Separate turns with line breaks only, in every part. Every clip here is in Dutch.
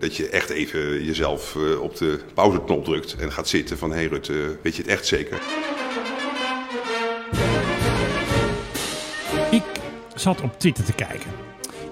Dat je echt even jezelf eh, op de pauzeknop drukt en gaat zitten van... hé hey Rutte, weet je het echt zeker?
Ik zat op Twitter te kijken.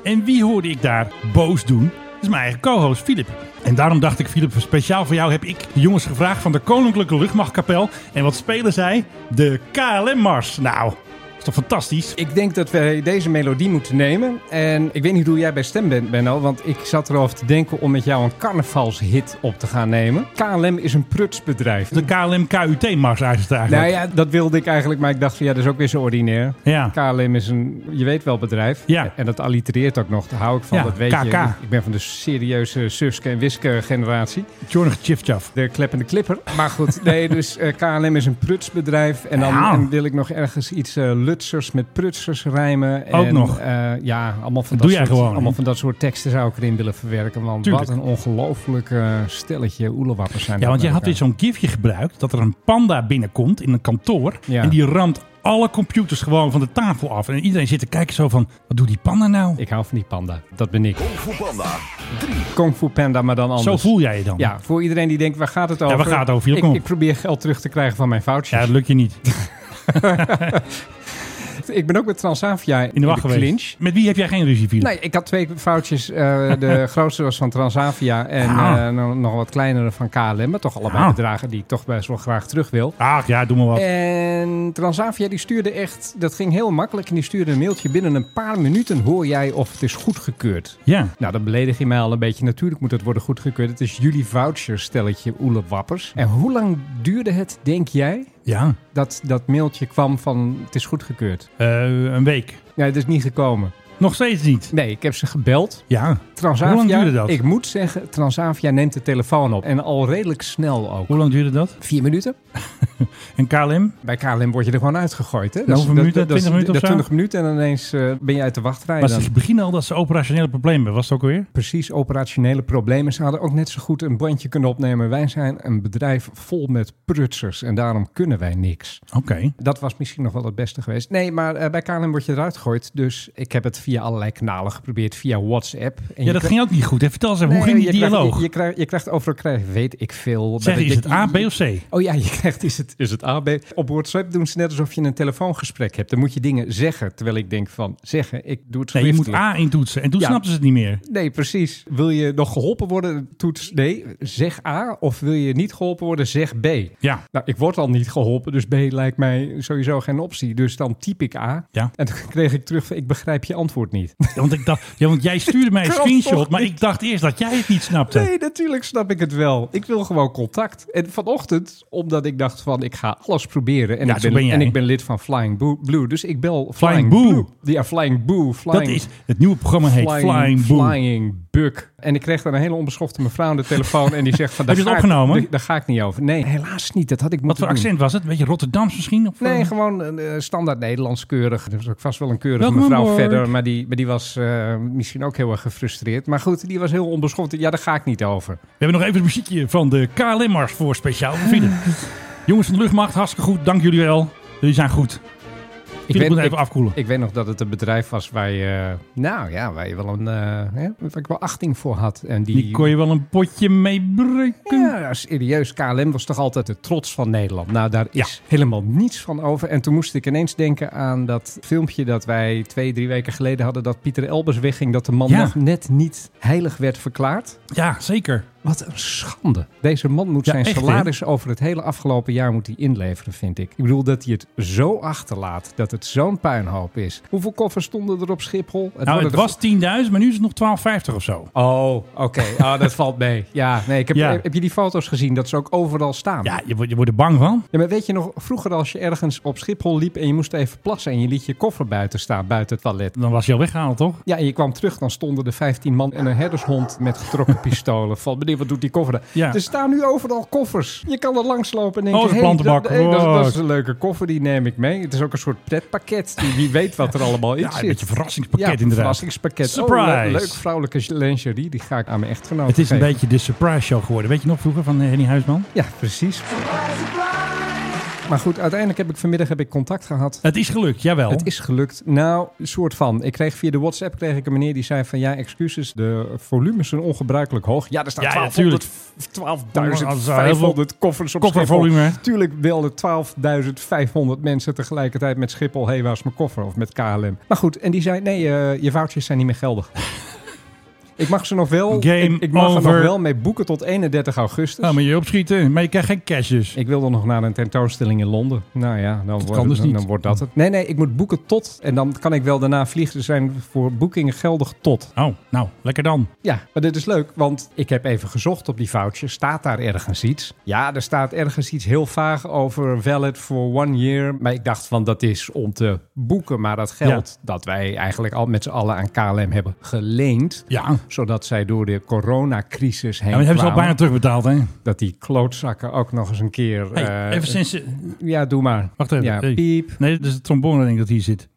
En wie hoorde ik daar boos doen? Dat is mijn eigen co-host Filip. En daarom dacht ik, Filip, speciaal voor jou heb ik de jongens gevraagd van de Koninklijke Luchtmachtkapel. En wat spelen zij? De KLM-mars. Nou, is toch fantastisch?
Ik denk dat wij deze melodie moeten nemen. En ik weet niet hoe jij bij stem bent, Benno. Want ik zat erover te denken om met jou een carnavalshit op te gaan nemen. KLM is een prutsbedrijf.
De KLM-KUT-mars is het eigenlijk.
Nou ja, dat wilde ik eigenlijk. Maar ik dacht van ja, dat is ook weer zo ordinair.
ja.
KLM is een, je weet wel, bedrijf.
Ja.
En dat allitereert ook nog. Daar hou ik van,
Ja,
dat weet
KK.
je. Ik ben van de serieuze Suske en Wiske generatie.
Jorg Tjiftjaf.
De kleppende klipper. Maar goed, nee, dus eh, KLM is een prutsbedrijf. En dan
Ja.
en wil ik nog ergens iets eh, lutsers met prutsers rijmen. En,
Ook nog.
eh, ja, allemaal van
Dat doe jij
dat, soort,
gewoon,
allemaal
hè?
van dat soort teksten zou ik erin willen verwerken. Want
Tuurlijk.
wat een ongelooflijk eh, stelletje oelewappers zijn.
Ja,
dat
want jij
bij
had weer
elkaar.
zo'n gifje gebruikt dat er een panda binnenkomt in een kantoor.
Ja.
En die ramt alle computers gewoon van de tafel af. En iedereen zit te kijken zo van, wat doet die panda nou?
Ik hou van die panda. Dat ben ik.
Kung Fu Panda 3.
Kung Fu Panda, maar dan anders.
Zo voel jij je dan.
Ja, voor iedereen die denkt, waar gaat het over?
waar gaat het over? Hier,
Ik,
kom op.
ik probeer geld terug te krijgen van mijn foutjes.
Ja, dat lukt je niet.
ik ben ook met Transavia in
In de wacht geweest.
clinch.
Met wie heb jij geen ruzie, Filip?
Nee, ik had twee foutjes. Eh, de grootste was van Transavia en
Ah.
eh, nog, nog wat kleinere van KLM. Maar toch allebei
Ah.
bedragen die ik toch best wel graag terug wil.
Ach ja, doe maar
Eh.
wat.
En Transavia die stuurde echt, dat ging heel makkelijk. En die stuurde een mailtje binnen een paar minuten hoor jij of het is goedgekeurd.
Ja.
Nou, dan beledig je mij al een beetje. Natuurlijk moet het worden goedgekeurd. Het is jullie voucher, stelletje oelewappers. En hoe lang duurde het, denk jij,
Ja.
dat dat mailtje kwam van het is goedgekeurd?
Eh, een week.
Ja, het is niet gekomen.
Nog steeds niet.
Nee, ik heb ze gebeld.
Ja.
Transavia,
Hoe lang duurde dat?
ik moet zeggen, Transavia neemt de telefoon op. En al redelijk snel ook.
Hoe lang duurde dat?
Vier minuten?
En KLM?
Bij KLM word je er gewoon uitgegooid. Hè?
Nou, hoeveel minuten?
is-
20 minuten of
dat
zo?
20 minuten en ineens eh, ben je uit de wachtrij.
Maar
dan.
ze beginnen al dat ze operationele problemen hebben. Was het ook alweer?
Precies operationele problemen. Ze hadden ook net zo goed een bandje kunnen opnemen. Wij zijn een bedrijf vol met prutsers en daarom kunnen wij niks.
Oké.
Dat was misschien nog wel het beste geweest. Nee, maar eh, bij KLM word je eruit gegooid. Dus ik heb het via allerlei kanalen geprobeerd, via WhatsApp. En
Ja, dat ging ook niet goed. Hè? Vertel eens even, hoe ging die dialoog?
je, krijgt, je krijgt overal, krijg, weet ik veel.
zeg,
Dat-
is
je-
het A, B of C?
Oh ja, je krijgt, is het, is het A, B? Op WhatsApp doen ze net alsof je een telefoongesprek hebt. Dan moet je dingen zeggen, terwijl ik denk van, zeggen, ik doe het
Nee, je moet
schriftelijk.
A intoetsen. En toen
Ja.
snapten ze het niet meer.
Nee, precies. Wil je nog geholpen worden, toets nee, zeg A. Of wil je niet geholpen worden, zeg B.
Ja.
Nou, ik word al niet geholpen, dus B lijkt mij sowieso geen optie. Dus dan typ ik A.
Ja.
En toen kreeg ik terug van, ik begrijp je antwoord niet.
Ja, Want, ik dacht, ja, want jij stuurde mij een
Klopt
screenshot,
toch
maar
niet?
ik dacht eerst dat jij het niet snapte.
Nee, natuurlijk snap ik het wel. Ik wil gewoon contact. En vanochtend, omdat ik dacht van ik ga alles proberen. En,
Ja,
ik,
zo
ben,
ben jij.
en ik ben lid van Flying Boo- Blue. Dus ik bel
Flying
Flying,
Boo.
Blue. Ja, Flying Boo. Flying,
dat is, het nieuwe programma heet Flying, Boom.
Flying Buk. En ik kreeg daar een hele onbeschofte mevrouw aan de telefoon. En die zegt van...
Heb
daar
je het
ga ik-
opgenomen?
daar- Daar ga ik niet over. Nee, helaas niet. Dat had ik
Wat
moeten
voor
doen.
accent was het? Een beetje Rotterdams misschien? Of,
Nee,
eh,
gewoon eh, eh, standaard Nederlands keurig. Er was ook vast wel een keurige
Welkom
mevrouw
aboard.
verder. Maar die, maar die was eh, misschien ook heel erg gefrustreerd. Maar goed, die was heel onbeschoft. Ja, daar ga ik niet over.
We hebben nog even het muziekje van de KLM-mars voor speciaal voor Filip. Jongens van de luchtmacht, hartstikke goed. Dank jullie wel. Jullie zijn goed.
Ik
Filip
weet-
moet
ik-
even afkoelen.
Ik weet nog dat het een bedrijf was waar je, nou ja, waar je wel een, eh, hè, waar ik wel achting voor had. En die,
Die kon je wel een potje meebreken.
ja, serieus, KLM was toch altijd de trots van Nederland. Nou, daar is helemaal niets van over. En toen moest ik ineens denken aan dat filmpje dat wij twee, drie weken geleden hadden, dat Pieter Elbers wegging, dat de man
Ja.
nog net niet heilig werd verklaard.
Ja, zeker.
Wat een schande. Deze man moet
Ja,
zijn
echt, hè?
salaris over het hele afgelopen jaar moet hij inleveren, vind ik. Ik bedoel dat hij het zo achterlaat, dat het zo'n puinhoop is. Hoeveel koffers stonden er op Schiphol? Het
nou,
worden
het
er-
was 10.000, maar nu is het nog 12,50 of zo.
Oh, oké. Ah, dat valt mee. Ja, nee, ik heb,
Ja.
heb je die foto's gezien dat ze ook overal staan?
Ja, je, wordt- je wordt er bang van.
Ja, maar weet je nog, vroeger als je ergens op Schiphol liep en je moest even plassen en je liet je koffer buiten staan, buiten het toilet.
Dan was je al weggehaald, toch?
Ja, en je kwam terug, dan stonden er 15 man en een herdershond met getrokken pistolen. Van, meneer, wat doet die koffer daar?
Ja.
Er staan nu overal koffers. Je kan er langs lopen
Oh,
en denken,
dat is
hey,
plantenbak.
dat, hey, dat,
Wow.
dat is een leuke koffer, die neem ik mee. Het is ook een soort pretpakket. Die, wie weet wat er allemaal in
Ja,
zit.
een beetje verrassingspakket
ja,
inderdaad.
verrassingspakket. Oh, le-
Surprise.
leuk vrouwelijke lingerie, die ga ik aan mijn echtgenoot
Het is een
geven.
beetje de surprise show geworden. Weet je nog vroeger van eh, Henny Huisman?
Ja, precies. Maar goed, uiteindelijk heb ik vanmiddag heb ik contact gehad.
Het is gelukt, jawel.
Het is gelukt. Nou, een soort van. Ik kreeg via de WhatsApp kreeg ik een meneer die zei van ja, excuses, de volumes zijn ongebruikelijk hoog. Ja, er staan
Ja, ja,
1200
Als er eh, heel veel
12.500 koffers op Schiphol.
Koffervolume.
Tuurlijk belden 12.500 mensen tegelijkertijd met Schiphol... hé, waar is mijn koffer? Of met KLM. Maar goed, en die zei, nee, eh, je vouchers zijn niet meer geldig. ik mag ze nog wel...
Game
ik, ik mag er
over.
nog wel mee boeken tot 31 augustus.
Nou, moet je opschieten. Maar je krijgt geen cash dus.
Ik wilde nog naar een tentoonstelling in Londen. Nou ja, dan, wordt,
kan dus
dan,
niet.
dan wordt dat het. Nee, nee, ik moet boeken tot. En dan kan ik wel daarna vliegen. Er zijn voor boekingen geldig tot.
Oh, nou, lekker dan.
Ja, maar dit is leuk, want ik heb even gezocht op die voucher. Staat daar ergens iets? Ja, er staat ergens iets heel vaag over valid for one year. Maar ik dacht van dat is om te boeken. Maar dat geld dat wij eigenlijk al met z'n allen aan KLM hebben geleend.
Ja.
Zodat zij door de coronacrisis heen
Ja, maar dat hebben ze al
kwamen.
bijna terugbetaald, hè?
Dat die klootzakken ook nog eens een keer...
Hey,
eh,
even sinds... ze-
Ja, doe maar.
Wacht even.
Ja,
Hey.
piep.
Nee, dat is de trombone denk ik dat hier zit.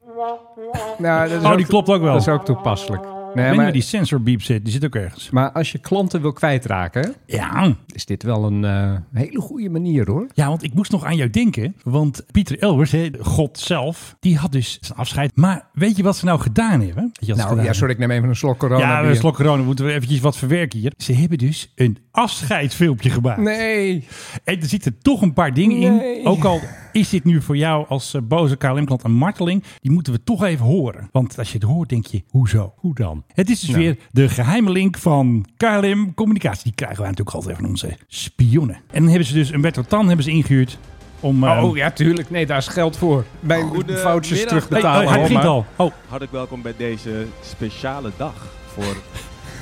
Nou, dat is
Oh,
ook-
die klopt ook wel.
Dat is
Ik
ook toepasselijk. Nee,
weet niet waar
maar,
die sensorbeep zit. Die zit ook ergens.
maar als je klanten wil kwijtraken,
Ja.
is dit wel een eh, hele goede manier hoor.
Ja, want ik moest nog aan jou denken. Want Pieter Elbers, hè, God zelf, die had dus zijn afscheid. Maar weet je wat ze nou gedaan hebben? Weet je wat ze
Nou
gedaan
ja, sorry, ik neem even een slok corona.
Ja,
bier.
we slok corona moeten we eventjes wat verwerken hier. Ze hebben dus een afscheidsfilmpje gemaakt.
Nee.
En er zitten toch een paar dingen
Nee.
in. Ook al is dit nu voor jou als eh, boze KLM-klant een marteling, die moeten we toch even horen. Want als je het hoort, denk je, hoezo? Hoe dan? Het is dus
Nou.
weer de geheime link van KLM Communicatie. Die krijgen wij natuurlijk altijd van onze spionnen. En dan hebben ze dus een Bertrand Tan hebben ze ingehuurd om... eh,
Oh ja, tuurlijk. Nee, daar is geld voor. Mijn
Goedemiddag.
foutjes
hey,
terugbetalen.
oh, hij
hoor,
begint
maar.
al. Oh,
Hartelijk welkom bij deze speciale dag voor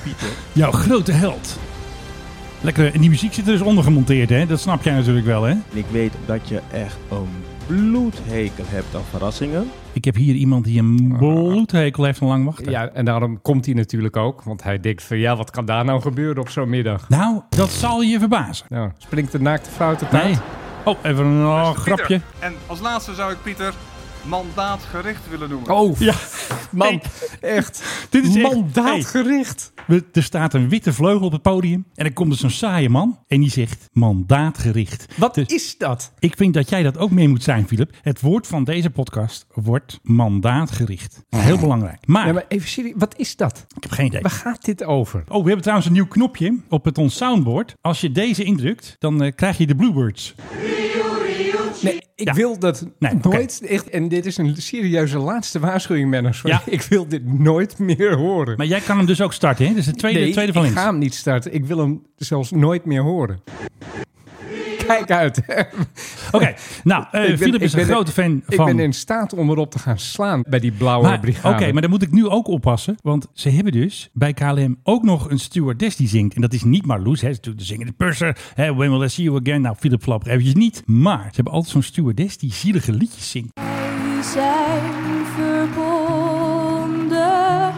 Pieter.
jouw grote held. Lekker, en die muziek zit er dus onder gemonteerd, hè? Dat snap jij natuurlijk wel, hè?
En ik weet dat je echt een bloedhekel hebt aan verrassingen.
Ik heb hier iemand die een bloedhekel heeft en lang wachten.
Ah. Ja, en daarom komt hij natuurlijk ook. Want hij denkt van ja, wat kan daar nou gebeuren op zo'n middag?
Nou, dat zal je verbazen.
Nou, springt de naakte vrouw te
Nee. Oh, even een oh, grapje.
Pieter. En als laatste zou ik Pieter mandaatgericht willen noemen.
Oh,
Ja,
man. Echt. Dit is
echt-
mandaatgericht.
we- er staat een witte vleugel op het podium. En er komt dus een saaie man. En die zegt mandaatgericht.
Wat
Dus
is dat?
ik vind dat jij dat ook mee moet zijn, Philip. Het woord van deze podcast wordt mandaatgericht. Nou, Heel belangrijk. Maar,
Ja, maar even serieus, wat is dat?
ik heb geen idee.
Waar gaat dit over?
Oh, we hebben trouwens een nieuw knopje op het ons soundboard. Als je deze indrukt, dan eh, krijg je de Bluebirds.
Nee, ik wil dat
Nee, oké.
nooit echt. En dit is een serieuze laatste waarschuwing, manners.
Ja.
Ik wil dit nooit meer horen.
Maar jij kan hem dus ook starten, hè? Dus de tweede,
nee,
tweede van
ik
links.
ga hem niet starten. Ik wil hem zelfs nooit meer horen. Kijk uit.
Oké, nou, eh,
ben-
Philip is
ik
een
ben-
grote fan
ik
van...
ben in staat om erop te gaan slaan bij die blauwe
Maar- Oké,
brigade.
maar dan moet ik nu ook oppassen. Want ze hebben dus bij KLM ook nog een stewardess die zingt. En dat is niet Marloes, hè. Ze is natuurlijk de zingende purser. Hè, When will I see you again? Nou, Philip flap eventjes niet. Maar ze hebben altijd zo'n stewardess die zielige liedjes zingt.
Die zijn verbonden,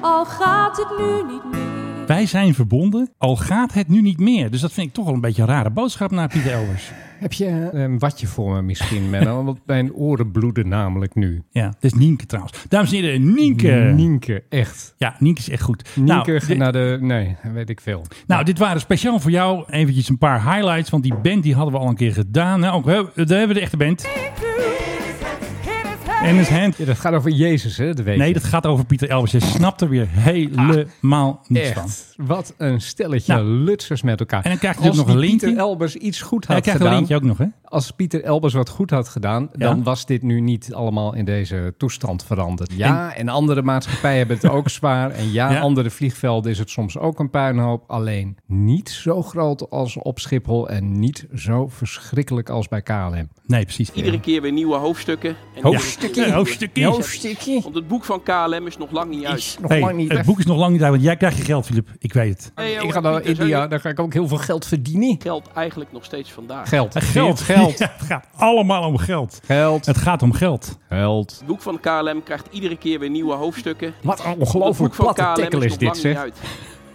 al gaat het nu niet meer.
Wij zijn verbonden, al gaat het nu niet meer. Dus dat vind ik toch wel een beetje een rare boodschap naar Pieter Elbers.
Heb je eh, een Ehm, watje voor me misschien, Menno? Want mijn oren bloeden namelijk nu.
Ja, dat is Nienke trouwens. Dames en heren, Nienke.
Nienke, echt.
ja, Nienke is echt goed.
Nienke
Eh. nou, dit,
naar de... Nee, weet ik veel.
nou, dit waren speciaal voor jou eventjes een paar highlights. Want die band die hadden we al een keer gedaan. Nou, ook, hè, daar hebben we de echte band. En het hand.
Ja, dat gaat over Jezus, hè? Dat weet
Nee,
je.
dat gaat over Pieter Elbers. Je snapt er weer helemaal niets van.
Ah, Echt, wat een stelletje
Nou.
lutsers met elkaar.
En dan krijg je
als
ook nog een
die Pieter
lintje.
Elbers iets goed
Hij
had
krijgt een
gedaan,
lintje ook nog, hè?
als Pieter Elbers wat goed had gedaan, dan
Ja.
was dit nu niet allemaal in deze toestand veranderd. Ja, en, andere maatschappijen hebben het ook zwaar. En ja,
Ja.
andere vliegvelden is het soms ook een puinhoop. Alleen niet zo groot als op Schiphol en niet zo verschrikkelijk als bij KLM.
Nee, precies.
Iedere keer weer nieuwe hoofdstukken. En iedere
Hoofdstukken.
keer weer-
Hoofdstukje.
Hoofdstukje.
Want het boek van KLM is nog lang niet uit.
Nog
Hey,
lang niet.
het
weg.
boek is nog lang niet uit, want jij krijgt je geld, Filip. Ik weet het.
Hey,
Ik
joh,
ga naar
Pieter, zou
India,
je-
daar ga ik ook heel veel geld verdienen.
Geld eigenlijk nog steeds vandaag.
Geld.
Geld,
Geld.
Ja, het gaat allemaal om geld.
Geld.
Het gaat om geld.
Geld.
Het boek van KLM krijgt iedere keer weer nieuwe hoofdstukken.
Wat een
Het boek
ongelooflijk
van
platte
KLM
tackle
is
is
nog lang
dit,
niet
zeg.
uit.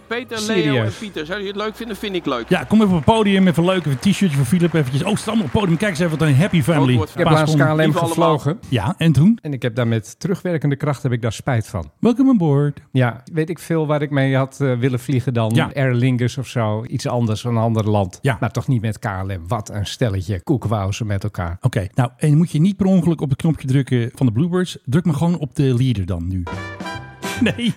Peter, Leo en
Serieus.
Pieter. Zou je het leuk vinden? Vind ik leuk.
Ja, kom even op het podium. Even leuk. Even een t-shirtje voor Philip. Eventjes. Oh, het staat allemaal op het podium. Kijk eens even wat een happy family.
Groot woord.
Ik heb
Paar
laatst
seconden.
KLM
Lieve allemaal.
gevlogen.
Ja, en toen?
En ik heb daar met terugwerkende kracht heb ik daar spijt van.
Welcome on board.
Ja, weet ik veel waar ik mee had eh, willen vliegen dan
Ja.
Aer Lingus of zo. Iets anders, een ander land.
Ja.
Maar toch niet met KLM. Wat een stelletje koekwauzen met elkaar.
Oké, nou, en dan moet je niet per ongeluk op het knopje drukken van de Bluebirds. Druk maar gewoon op de leader dan nu. Nee.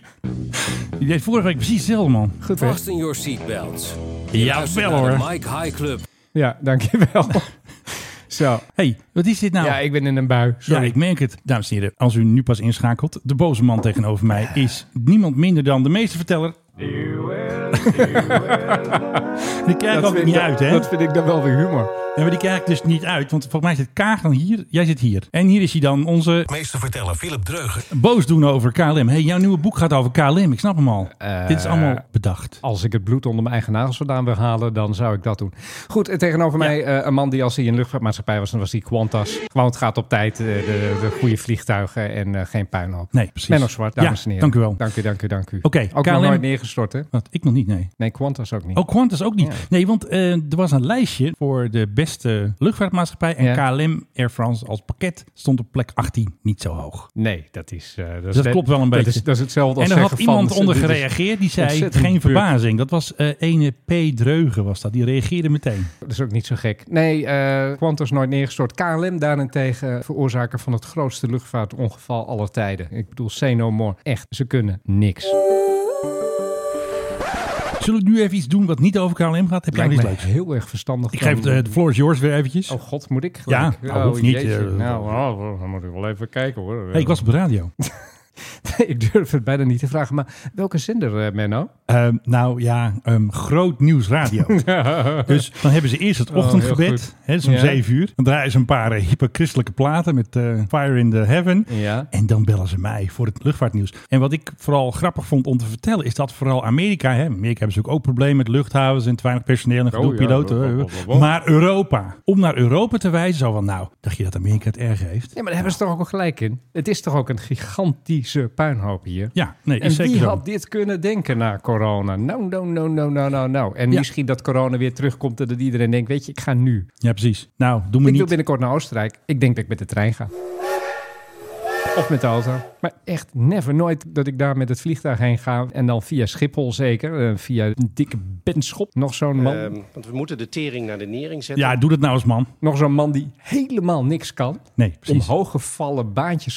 Die deed vorige week precies hetzelfde, man.
Goed hè?
Vast in your seatbelts.
Ja, wel hoor.
Mike High Club.
Ja, dankjewel. zo.
hey, wat is dit nou?
Ja, ik ben in een bui.
Ja,
Sorry.
ik merk het. Dames en heren, als u nu pas inschakelt, de boze man tegenover mij is niemand minder dan de meesterverteller. die krijg ik ook
vind
niet
ik dan-
uit, hè?
Dat vind ik dan wel weer humor.
Ja, maar die krijg ik dus niet uit, want volgens mij zit Kaag dan hier, jij zit hier. En hier is hij dan, onze
Meester vertellen, Philip Dreugen.
boos doen over KLM. hey, jouw nieuwe boek gaat over KLM, ik snap hem al.
Eh,
Dit is allemaal bedacht.
Als ik het bloed onder mijn eigen nagels vandaan wil halen, dan zou ik dat doen. Goed, en tegenover mij eh, een man die als hij in luchtvaartmaatschappij was, dan was hij Qantas. Gewoon het gaat op tijd, eh, de, de goede vliegtuigen en eh, geen puinhoop.
Nee, precies.
Menno Zwart, dames
Ja,
en heren.
dank u wel.
Dank u, dank u, dank u.
Oké,
Ook nog
KLM.
nooit neergestort, hè?
Wat, ik nog niet, nee.
Nee, Qantas ook niet.
Ook Qantas ook niet.
Ja.
Nee, want eh, er was een lijstje voor de beste luchtvaartmaatschappij. En
Ja.
KLM Air France als pakket stond op plek 18 niet zo hoog.
Nee, dat is... eh, dat is
dat
net-
klopt wel een
Dat
beetje.
is, dat is hetzelfde
En
als
er had
zeggen van,
iemand onder
dit is-
gereageerd die zei,
ontzettend
geen
beurt.
verbazing. Dat was eh ene P. Dreugen was dat. Die reageerde meteen.
Dat is ook niet zo gek. Nee, eh Qantas nooit neergestort. KLM daarentegen veroorzaker van het grootste luchtvaartongeval aller tijden. Ik bedoel, say no more. Echt, ze kunnen niks.
Zullen we nu even iets doen wat niet over KLM gaat? Heb jij nog
Lijkt
iets
me
leuks?
heel erg verstandig.
Ik geef eh,
om-
de, de floor is yours weer eventjes.
Oh god, moet ik
Ja,
gelijk?
nou, hoeft niet,
jeetje.
eh,
nou, oh, dan moet ik wel even kijken hoor.
Hey, ik was op de radio.
ik durf het bijna niet te vragen, maar welke zender, eh Menno?
Ehm, nou ja, ehm, groot nieuws radio. Dus dan hebben ze eerst het
Oh, heel
ochtendgebed.
goed.
hè, dat is om
Ja.
7 uur. Dan draaien ze een paar eh, hyperchristelijke platen met eh, Fire in the Heaven.
ja.
En dan bellen ze mij voor het luchtvaartnieuws. En wat ik vooral grappig vond om te vertellen, is dat vooral Amerika. Hè, in Amerika hebben ze ook, ook problemen met luchthavens en te weinig personeel en gedoe
Oh, ja,
piloten.
wa- wa- wa- wa- wa.
Maar Europa. Om naar Europa te wijzen, zo van nou, dacht je dat Amerika het erg heeft?
Ja, maar daar hebben ze toch ook wel gelijk in. Het is toch ook een gigantische puinhoop hier.
Ja, nee,
En
is zeker
wie
zo.
had dit kunnen denken na corona? Nou, nou, nou, nou, nou, nou, nou. En
Ja.
misschien dat corona weer terugkomt en dat iedereen denkt, weet je, ik ga nu.
Ja, precies. Nou, doe me
ik wil
niet.
binnenkort naar Oostenrijk. Ik denk dat ik met de trein ga. Of met de auto. Maar echt never, nooit dat ik daar met het vliegtuig heen ga. En dan via Schiphol zeker. eh, Via een dikke benschop. Nog zo'n man.
Ehm, want we moeten de tering naar de nering zetten.
Ja, doe dat nou eens, man.
nog zo'n man die helemaal niks kan.
Nee, precies.
Omhoog gevallen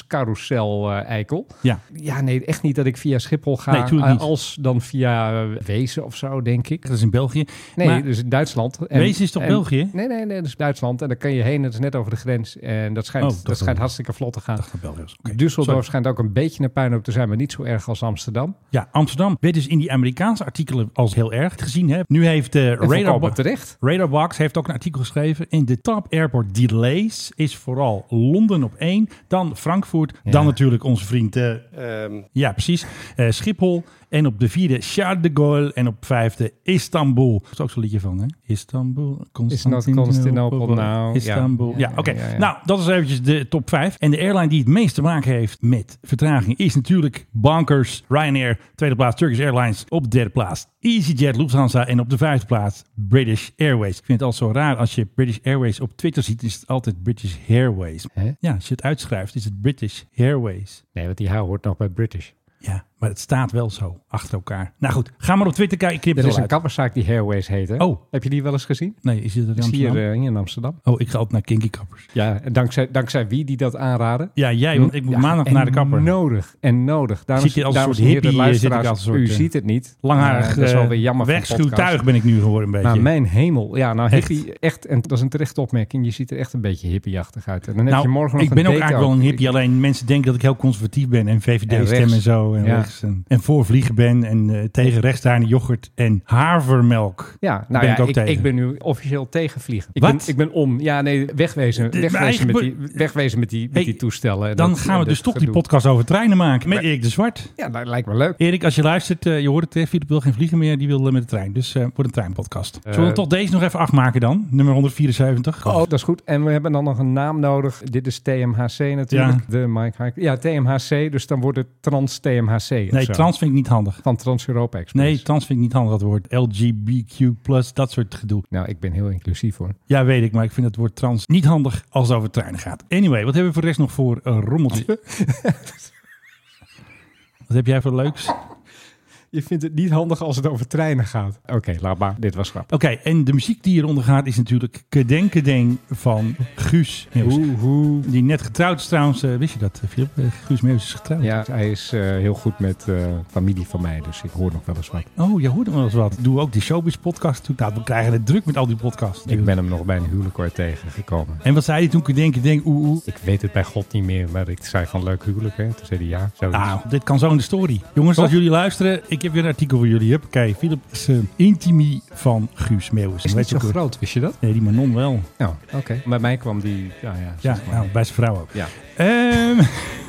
baantjescarousel, eh, eikel.
Ja.
Ja, nee, echt niet dat ik via Schiphol ga.
Nee, tuurlijk
eh,
niet.
als dan via eh, Wezen of zo, denk ik.
Dat is in België.
Nee,
Maar-
dus in Duitsland.
Wezen is toch
en-
België?
Nee, nee, nee, dat is Duitsland. En dan kan je heen, dat is net over de grens. En dat schijnt,
Oh, dat
dat
bedoel
schijnt
ik.
hartstikke vlot te gaan.
Van België. Oké.
Düsseldorf
Sorry.
schijnt ook een beetje een puinhoop te zijn, maar niet zo erg als Amsterdam.
Ja, Amsterdam werd dus in die Amerikaanse artikelen als heel erg gezien. Hè. Nu heeft de
En
Radarbox,
volkomen terecht.
Radarbox heeft ook een artikel geschreven. In de top airport delays is vooral Londen op één, dan Frankfurt, dan natuurlijk onze vriend, eh,
Ehm,
ja precies, eh, Schiphol. En op de vierde Charles de Gaulle en op vijfde Istanbul. Dat is ook zo'n liedje van, hè? Istanbul, Constantinopel.
Constantinopel, nou, ja.
Istanbul. Ja,
Ja,
oké.
ja, ja.
Nou, dat is eventjes de top 5. En de airline die het meest te maken heeft met vertraging is natuurlijk Bankers, Ryanair, tweede plaats Turkish Airlines, op de derde plaats EasyJet, Lufthansa en op de vijfde plaats British Airways. Ik vind het al zo raar als je British Airways op Twitter ziet, is het altijd British Airways.
Hè?
Ja, als je het uitschrijft is het British Airways.
Nee, want die hou hoort nog bij British.
Ja, maar het staat wel zo achter elkaar. Nou goed, ga maar op Twitter kijken. Ik knip het
Er is
wel
een
uit.
kapperszaak die Airways heet, hè?
Oh.
Heb je die wel eens gezien?
Nee, is dit er in
Is hier
Amsterdam?
eh, in Amsterdam.
Oh, ik ga altijd naar Kinky Kappers.
Ja, en dankzij, dankzij wie die dat aanraden?
Ja, jij, want ik moet
Ja,
maandag
en
naar de kapper.
nodig, en nodig. Daarom
Zit je als een
daarom
soort
hier de
hippie, eh, zit ik
luisteraars,
als een soort,
U
eh,
ziet het niet.
Langharig,
Eh, dat is wel weer
eh,
jammer van podcast.
Wegschuwtuig ben ik nu geworden een
Nou,
beetje.
mijn hemel. Ja, nou,
Echt.
hippie, echt. En dat is een terechte opmerking. Je ziet er echt een beetje hippieachtig uit. En dan heb
Nou,
je morgen
ik
nog
ben
een
ook eigenlijk wel een hippie. Alleen mensen denken dat ik heel conservatief ben. En
En
VVD-stem
rechts.
en zo. En,
Ja.
rechts en, en voor vliegen ben. En eh, tegen rechtsdaarne yoghurt en havermelk.
Ja, nou
ben
ja,
ik ook
ik,
tegen.
ik ben nu officieel tegen vliegen. Ik,
Wat?
Ben, ik ben om. Ja, nee, wegwezen.
De-
Wegwezen,
maar
met die,
eigenlijk-
wegwezen met die, met
Hey,
die toestellen. en
Dan
dat-
gaan
en
we dus
dat
toch die
gedoe.
podcast over treinen maken. Met Erik de Zwart.
Ja, dat lijkt me leuk.
Erik, als je luistert, eh, je hoort het. hè, Filip wil geen vliegen meer. Die wil eh, met de trein. Dus eh wordt een treinpodcast. Zullen we
Eh,
toch deze nog even afmaken dan? Nummer 174.
Oh, dat is goed. En we hebben dan nog een naam nodig. Dit is TMHC natuurlijk.
Ja.
De Mike Hike. Ja, TMHC. Dus dan wordt het Trans TMHC. of
Nee,
zo.
trans vind ik niet handig.
Van Trans-Europa Express.
Nee, trans vind ik niet handig, dat woord. LGBTQ+, dat soort gedoe.
Nou, ik ben heel inclusief hoor.
Ja, weet ik, maar ik vind het woord trans niet handig als het over treinen gaat. Anyway, wat hebben we voor de rest nog voor een rommeltje? wat heb jij voor leuks? Oké,
Je vindt het niet handig als het over treinen gaat. Oké, laat maar. Dit was grappig.
en de muziek die hieronder gaat is natuurlijk Kedeng Kedeng van Guus Meeuws. Die net getrouwd is trouwens. Eh, wist je dat, eh, Filip? Eh, Guus Meeuws is getrouwd.
Ja, hij is eh, heel goed met eh, familie van mij, dus ik hoor nog wel eens wat.
Oh, je hoorde wel eens wat. Doe ook die Showbiz podcast. Toen, nou, we krijgen het druk met al die podcasts.
Ik ben hem nog bij een huwelijk hoor tegengekomen.
En wat zei hij toen? Kedeng Kedeng, oeh oeh.
Ik weet het bij God niet meer, maar ik zei van leuk huwelijk hè. Toen zei hij ja, zoiets.
Nou, dit kan zo in de story. Jongens, als jullie luisteren, ik heb weer een artikel voor jullie. Huppakee, Philip is eh, Intimi van Guus Meeuwis.
is
Weet
niet
je
zo
ook weer-
groot, wist je dat?
Nee, die Manon wel.
Nou, oké. Bij mij kwam die, ah, ja ja.
Ja,
zeg maar.
nou, bij zijn vrouw ook.
Ja.
Ehm,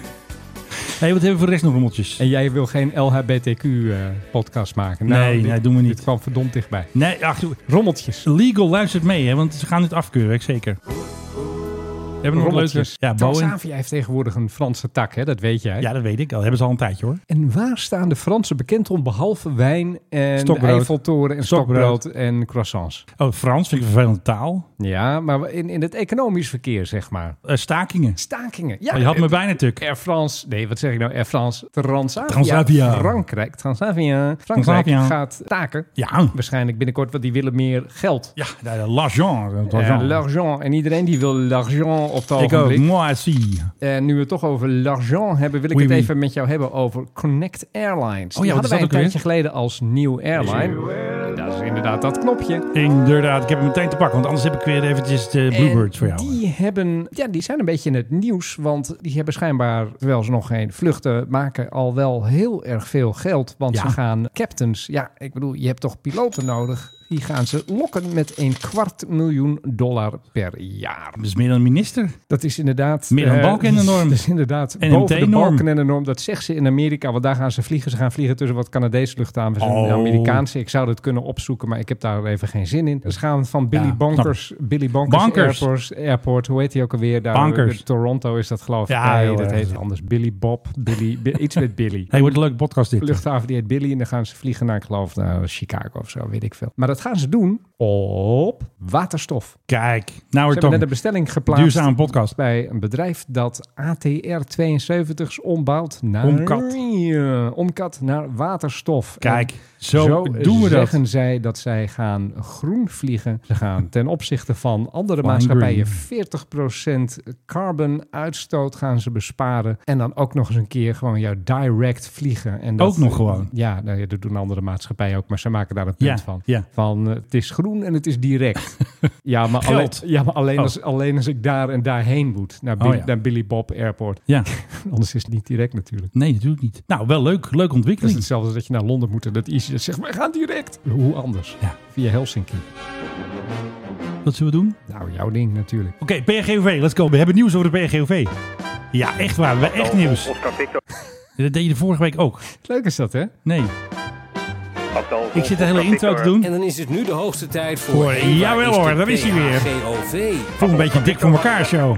hey, wat hebben we voor de rest nog rommeltjes?
En jij wil geen LHBTQ-podcast eh, maken? Nou,
Nee,
dit-
nee, doen we niet.
Dit kwam verdomd dichtbij.
Nee, ach, doe-
Rommeltjes.
Legal luistert mee, hè, want ze gaan dit afkeuren, ik zeker. We hebben nog een leuke... Ja, Bowen.
Transavia heeft tegenwoordig een Franse tak, hè? dat weet jij.
Ja, dat weet ik al. Hebben ze al een tijdje, hoor.
En waar staan de Fransen bekend om behalve wijn en
Stokbrood.
Eiffeltoren en
Stokbrood.
stokbrood en croissants?
Oh, Frans vind ik een vervelende taal.
Ja, maar in, in het economisch verkeer, zeg maar.
Eh, stakingen.
Stakingen. Ja,
Oh, je had me bijna tuk.
Air France, nee, wat zeg ik nou? Air France, Transavia.
Transavia.
Frankrijk, Transavia. Frankrijk
Transavia.
gaat taken.
Ja,
Waarschijnlijk binnenkort, want die willen meer geld.
ja de- de l'argent. de
Ja,
l'argent.
Eh, l'argent. En iedereen die wil l'argent op het
Ik ook.
ogenblik.
Moi aussi.
En nu we het toch over l'argent hebben, wil ik
Oui,
het
oui.
even met jou hebben over Connect Airlines.
Oh ja,
die
wat is
hadden
dat
wij een
ook weer?
tijdje geleden als nieuw airline. En Dat is inderdaad dat knopje.
Inderdaad, ik heb hem meteen te pakken, want anders heb ik weer eventjes de Bluebirds voor jou.
Die, hebben, ja, die zijn een beetje in het nieuws, want die hebben schijnbaar, terwijl ze nog geen vluchten maken, al wel heel erg veel geld. Want
Ja.
ze gaan captains, ja, ik bedoel, je hebt toch piloten nodig. Die gaan ze lokken met een kwart miljoen dollar per jaar.
Dat is meer dan een minister.
Dat is inderdaad...
Meer dan
eh,
balken en de norm.
Dat is inderdaad
NMT
boven de
norm.
balken en de norm. Dat zegt ze in Amerika, want daar gaan ze vliegen. Ze gaan vliegen tussen wat Canadese luchthavens
Oh.
en Amerikaanse. Ik zou dat kunnen opzoeken, maar ik heb daar even geen zin in. Ze gaan van Billy
Ja,
Bonkers, Billy Bonkers,
Bonkers.
Airport, Airport, hoe heet die ook alweer? Daar,
Bonkers.
Toronto is dat geloof ik.
Ja,
nee,
heel
dat
erg.
heet anders. Billy Bob, Billy, Bi- iets met Billy.
Hij wordt een leuke podcast dit.
Luchthaven die heet Billy en dan gaan ze vliegen naar, ik geloof, naar Chicago of zo, weet ik veel. Maar dat gaan ze doen op waterstof.
Kijk, nou
Ze
weer
hebben net
toch.
een bestelling geplaatst
Duurzame podcast.
bij een bedrijf dat ATR-72's ombouwt naar...
Omkat.
Ja, omkat naar waterstof.
Kijk,
En
zo, doen we dat.
zeggen zij dat zij gaan groen vliegen. Ze gaan ten opzichte van andere
Flying
maatschappijen 40% carbon uitstoot gaan ze besparen. En dan ook nog eens een keer gewoon jouw direct vliegen. En dat,
Ook nog gewoon.
Ja, nou ja, dat doen andere maatschappijen ook, maar ze maken daar een punt
Ja,
van.
ja.
Van eh, het is groen en het is direct. ja, maar alleen,
Geld.
ja, maar alleen,
Oh.
als, alleen als ik daar en daarheen moet. Naar, Billy,
Oh ja.
naar Billy Bob Airport.
Ja,
Anders is het niet direct natuurlijk.
nee, natuurlijk niet. Nou, wel leuk. Leuke
Dat is
ontwikkeling.
hetzelfde als dat je naar Londen moet en dat ICS zegt, wij gaan direct. Hoe anders?
Ja.
Via Helsinki.
Wat zullen we doen?
Nou, jouw ding natuurlijk.
Oké, PRGOV, let's go. We hebben nieuws over de PRGOV. Ja, echt waar. We hebben echt nieuws. Dat deed je de vorige week ook.
Leuk is dat, hè?
Nee. Ik zit de hele intro te
En
doen.
dan is het nu de hoogste tijd voor...
Voor- jawel hoor, daar is hij weer.
GOV.
Voel een beetje dik voor elkaar, show.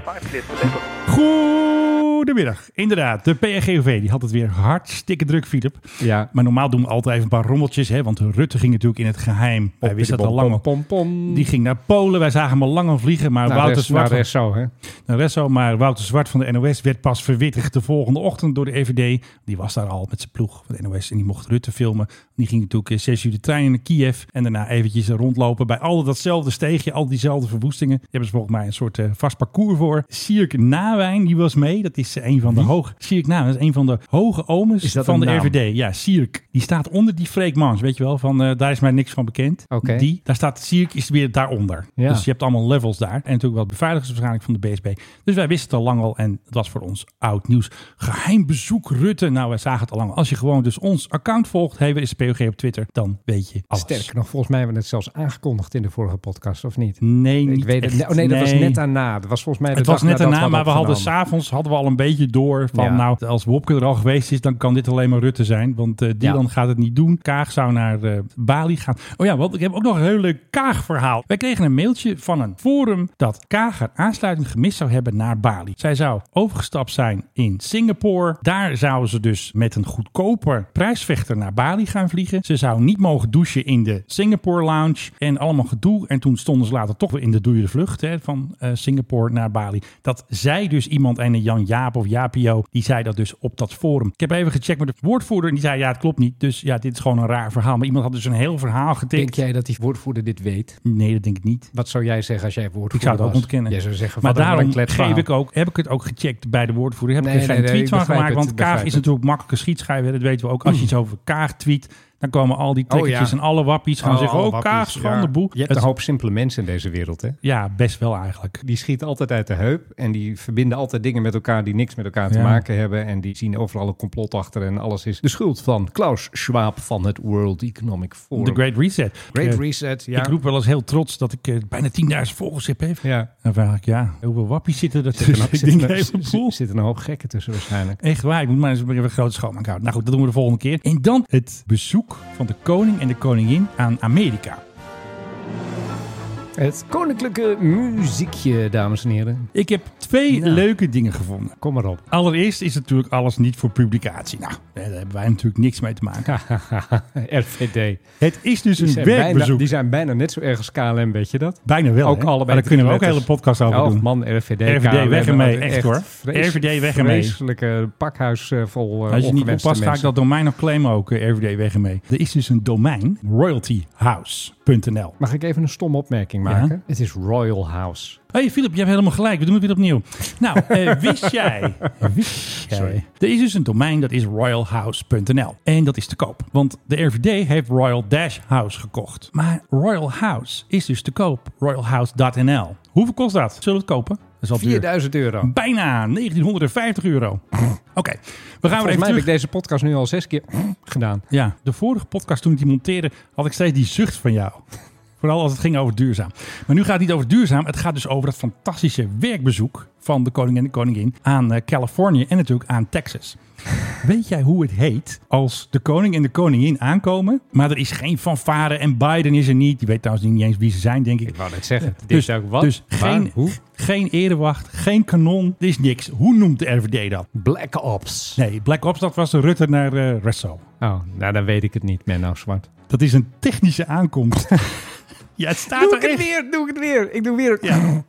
Goedemiddag. Inderdaad, de PRGOV die had het weer hartstikke druk, Filip.
Ja.
Maar normaal doen we altijd even een paar rommeltjes. Hè? Want Rutte ging natuurlijk in het geheim. Hij wist dat al lang. al.
Pom, pom, pom.
Die ging naar Polen. Wij zagen hem al lang al vliegen. Maar
naar
Wouter
Res-
Zwart.
naar Resso, hè?
van- naar Resso, maar Wouter Zwart van de NOS werd pas verwittigd de volgende ochtend door de EVD. Die was daar al met zijn ploeg van de NOS. En die mocht Rutte filmen. Die ging natuurlijk eh, zes uur de trein in naar Kiev. En daarna eventjes rondlopen bij al datzelfde steegje. Al diezelfde verwoestingen. Daar hebben ze volgens mij een soort eh, vast parcours voor. Sierk Nawijn, die was mee. Dat is eh, een van de hoog. Sierk Nawijn is een van de hoge omens
Is dat
van
een
de
naam?
RVD. Nee, ja, Sierk. Die staat onder die Freek Mans, weet je wel. Van, eh, daar is mij niks van bekend.
Oké.
Die, daar staat Sierk is weer daaronder.
Ja.
Dus je hebt allemaal levels daar. En natuurlijk wel beveiligers waarschijnlijk van de BSB. Dus wij wisten het al lang al en het was voor ons oud nieuws. Geheim bezoek Rutte. Nou, wij zagen het al lang. al. Als je gewoon dus ons account volgt, hey, we is de POG op Twitter, dan weet je alles.
Sterker nog, volgens mij hebben we het zelfs aangekondigd in de vorige podcast, of niet?
Nee, niet
ik weet het.
echt.
niet. Oh, nee, dat was net daarna. Dat was volgens mij de
Het was
dag
net
nadat
daarna,
we
maar we
hadden
hadden
opgenomen.
s'avonds hadden we al een beetje door van,
Ja.
nou, als Wopke er al geweest is, dan kan dit alleen maar Rutte zijn. Want eh Dylan
Ja.
gaat het niet doen. Kaag zou naar eh, Bali gaan. Oh ja, want ik heb ook nog een heel leuk Kaag-verhaal. Wij kregen een mailtje van een forum dat Kaag haar aansluiting gemist zou hebben naar Bali. Zij zou overgestapt zijn in Singapore. Daar zouden ze dus met een goedkoper prijsvechter naar Bali gaan vliegen. Ze zou niet mogen douchen in de Singapore Lounge en allemaal gedoe. En toen stonden ze later toch weer in de dure vlucht hè, van eh, Singapore naar Bali. Dat zei dus iemand, een Jan Jaap of Japio, die zei dat dus op dat forum. Ik heb even gecheckt met de woordvoerder en die zei ja, het klopt niet. Dus ja, dit is gewoon een raar verhaal. Maar iemand had dus een heel verhaal
Denk
getikt.
jij dat die woordvoerder dit weet?
Nee, dat denk ik niet.
Wat zou jij zeggen als jij woordvoerder
Ik zou het ook
was?
ontkennen.
Jij zou zeggen,
maar
wat een
daarom
kletsverhaal.
geef ik ook, heb ik het ook gecheckt bij de woordvoerder. Heb ik
Nee,
er geen
nee, nee,
tweet
ik
van
begrijp
gemaakt.
het,
Want
ik
Kaag
begrijp
is
het.
natuurlijk makkelijke schietschrijver. Dat weten we ook. Als je iets over Kaag tweet, dan komen al die trekkertjes
Oh, ja.
en alle wappies gaan
Oh,
zeggen...
alle
Oh,
wappies,
Kaag, schande
ja.
boe.
Je hebt
Het-
een hoop simpele mensen in deze wereld, hè?
Ja, best wel eigenlijk.
Die schieten altijd uit de heup en die verbinden altijd dingen met elkaar die niks met elkaar te
Ja.
maken hebben. En die zien overal een complot achter en alles is de schuld van Klaus Schwab van het World Economic Forum.
De Great Reset.
Great
Eh,
Reset, ja.
Ik roep wel eens heel trots dat ik eh, bijna 10.000 volgers heb. Hè.
ja. Dus
Dan vraag ik, ja, hoeveel wappies zitten er
Zit er
tussen?
nog-
Dus Ik
zit er
denk
nog-
een heleboel.
zit- zit er een hoop gekken tussen waarschijnlijk.
Echt waar, ik moet maar eens even een grote schoonmaak houden. Nou goed, dat doen we de volgende keer. En dan het bezoek van de koning en de koningin aan Amerika.
Het koninklijke muziekje, dames en heren.
Ik heb twee
Ja.
leuke dingen gevonden.
Kom maar op.
Allereerst is natuurlijk alles niet voor publicatie. Nou, daar hebben wij natuurlijk niks mee te maken.
RVD.
Het is dus
Die
een
zijn, bijna,
werkbezoek.
die zijn bijna net zo erg als KLM, weet je dat?
Bijna wel.
Ook
hè?
allebei
Maar daar
de
kunnen we ook een
drie
hele
letters.
podcast over
Oh
doen.
man, RVD.
RVD,
KLM,
weg ermee,
wat
echt hoor. RVD, weg ermee.
Vreselijke pakhuis eh, vol eh
Als je niet
ongewenste
oppast, ga ik
mensen.
dat domein nog claimen ook, eh, RVD weg ermee. Er is dus een domein, royaltyhouse.nl.
Mag ik even een stomme opmerking maken? Het is Royal House.
Hé hey Filip, je hebt helemaal gelijk. We doen het weer opnieuw. Nou, eh, wist jij... Wist jij-
Sorry.
Er is dus een domein, dat is royalhouse.nl. En dat is te koop. Want de RVD heeft Royal Dash House gekocht. Maar Royal House is dus te koop. Royalhouse.nl. Hoeveel kost dat? Zullen we het kopen? Dat is al duur.
4000 euro.
Bijna 1950 euro. Oké, we gaan weer
Volgens
even
mij heb
terug.
ik deze podcast nu al zes keer gedaan.
Ja, de vorige podcast toen ik die monteerde, had ik steeds die zucht van jou. Vooral als het ging over duurzaam. Maar nu gaat het niet over duurzaam. Het gaat dus over dat fantastische werkbezoek van de koning en de koningin aan eh, Californië en natuurlijk aan Texas. Weet jij hoe het heet als de koning en de koningin aankomen, maar er is geen fanfare en Biden is er niet. Die weet trouwens niet eens wie ze zijn, denk ik.
Ik wou net zeggen. Dit
Dus,
is ook wat.
dus
waar,
geen,
hoe?
geen erewacht, geen kanon, er is niks. Hoe noemt de RVD dat?
Black Ops.
Nee, Black Ops, dat was de Rutte naar eh Russell.
Oh, nou dan weet ik het niet, Menno Zwart.
Dat is een technische aankomst. ja, het staat er echt.
weer, doe ik het weer. Ik doe weer een
Ja.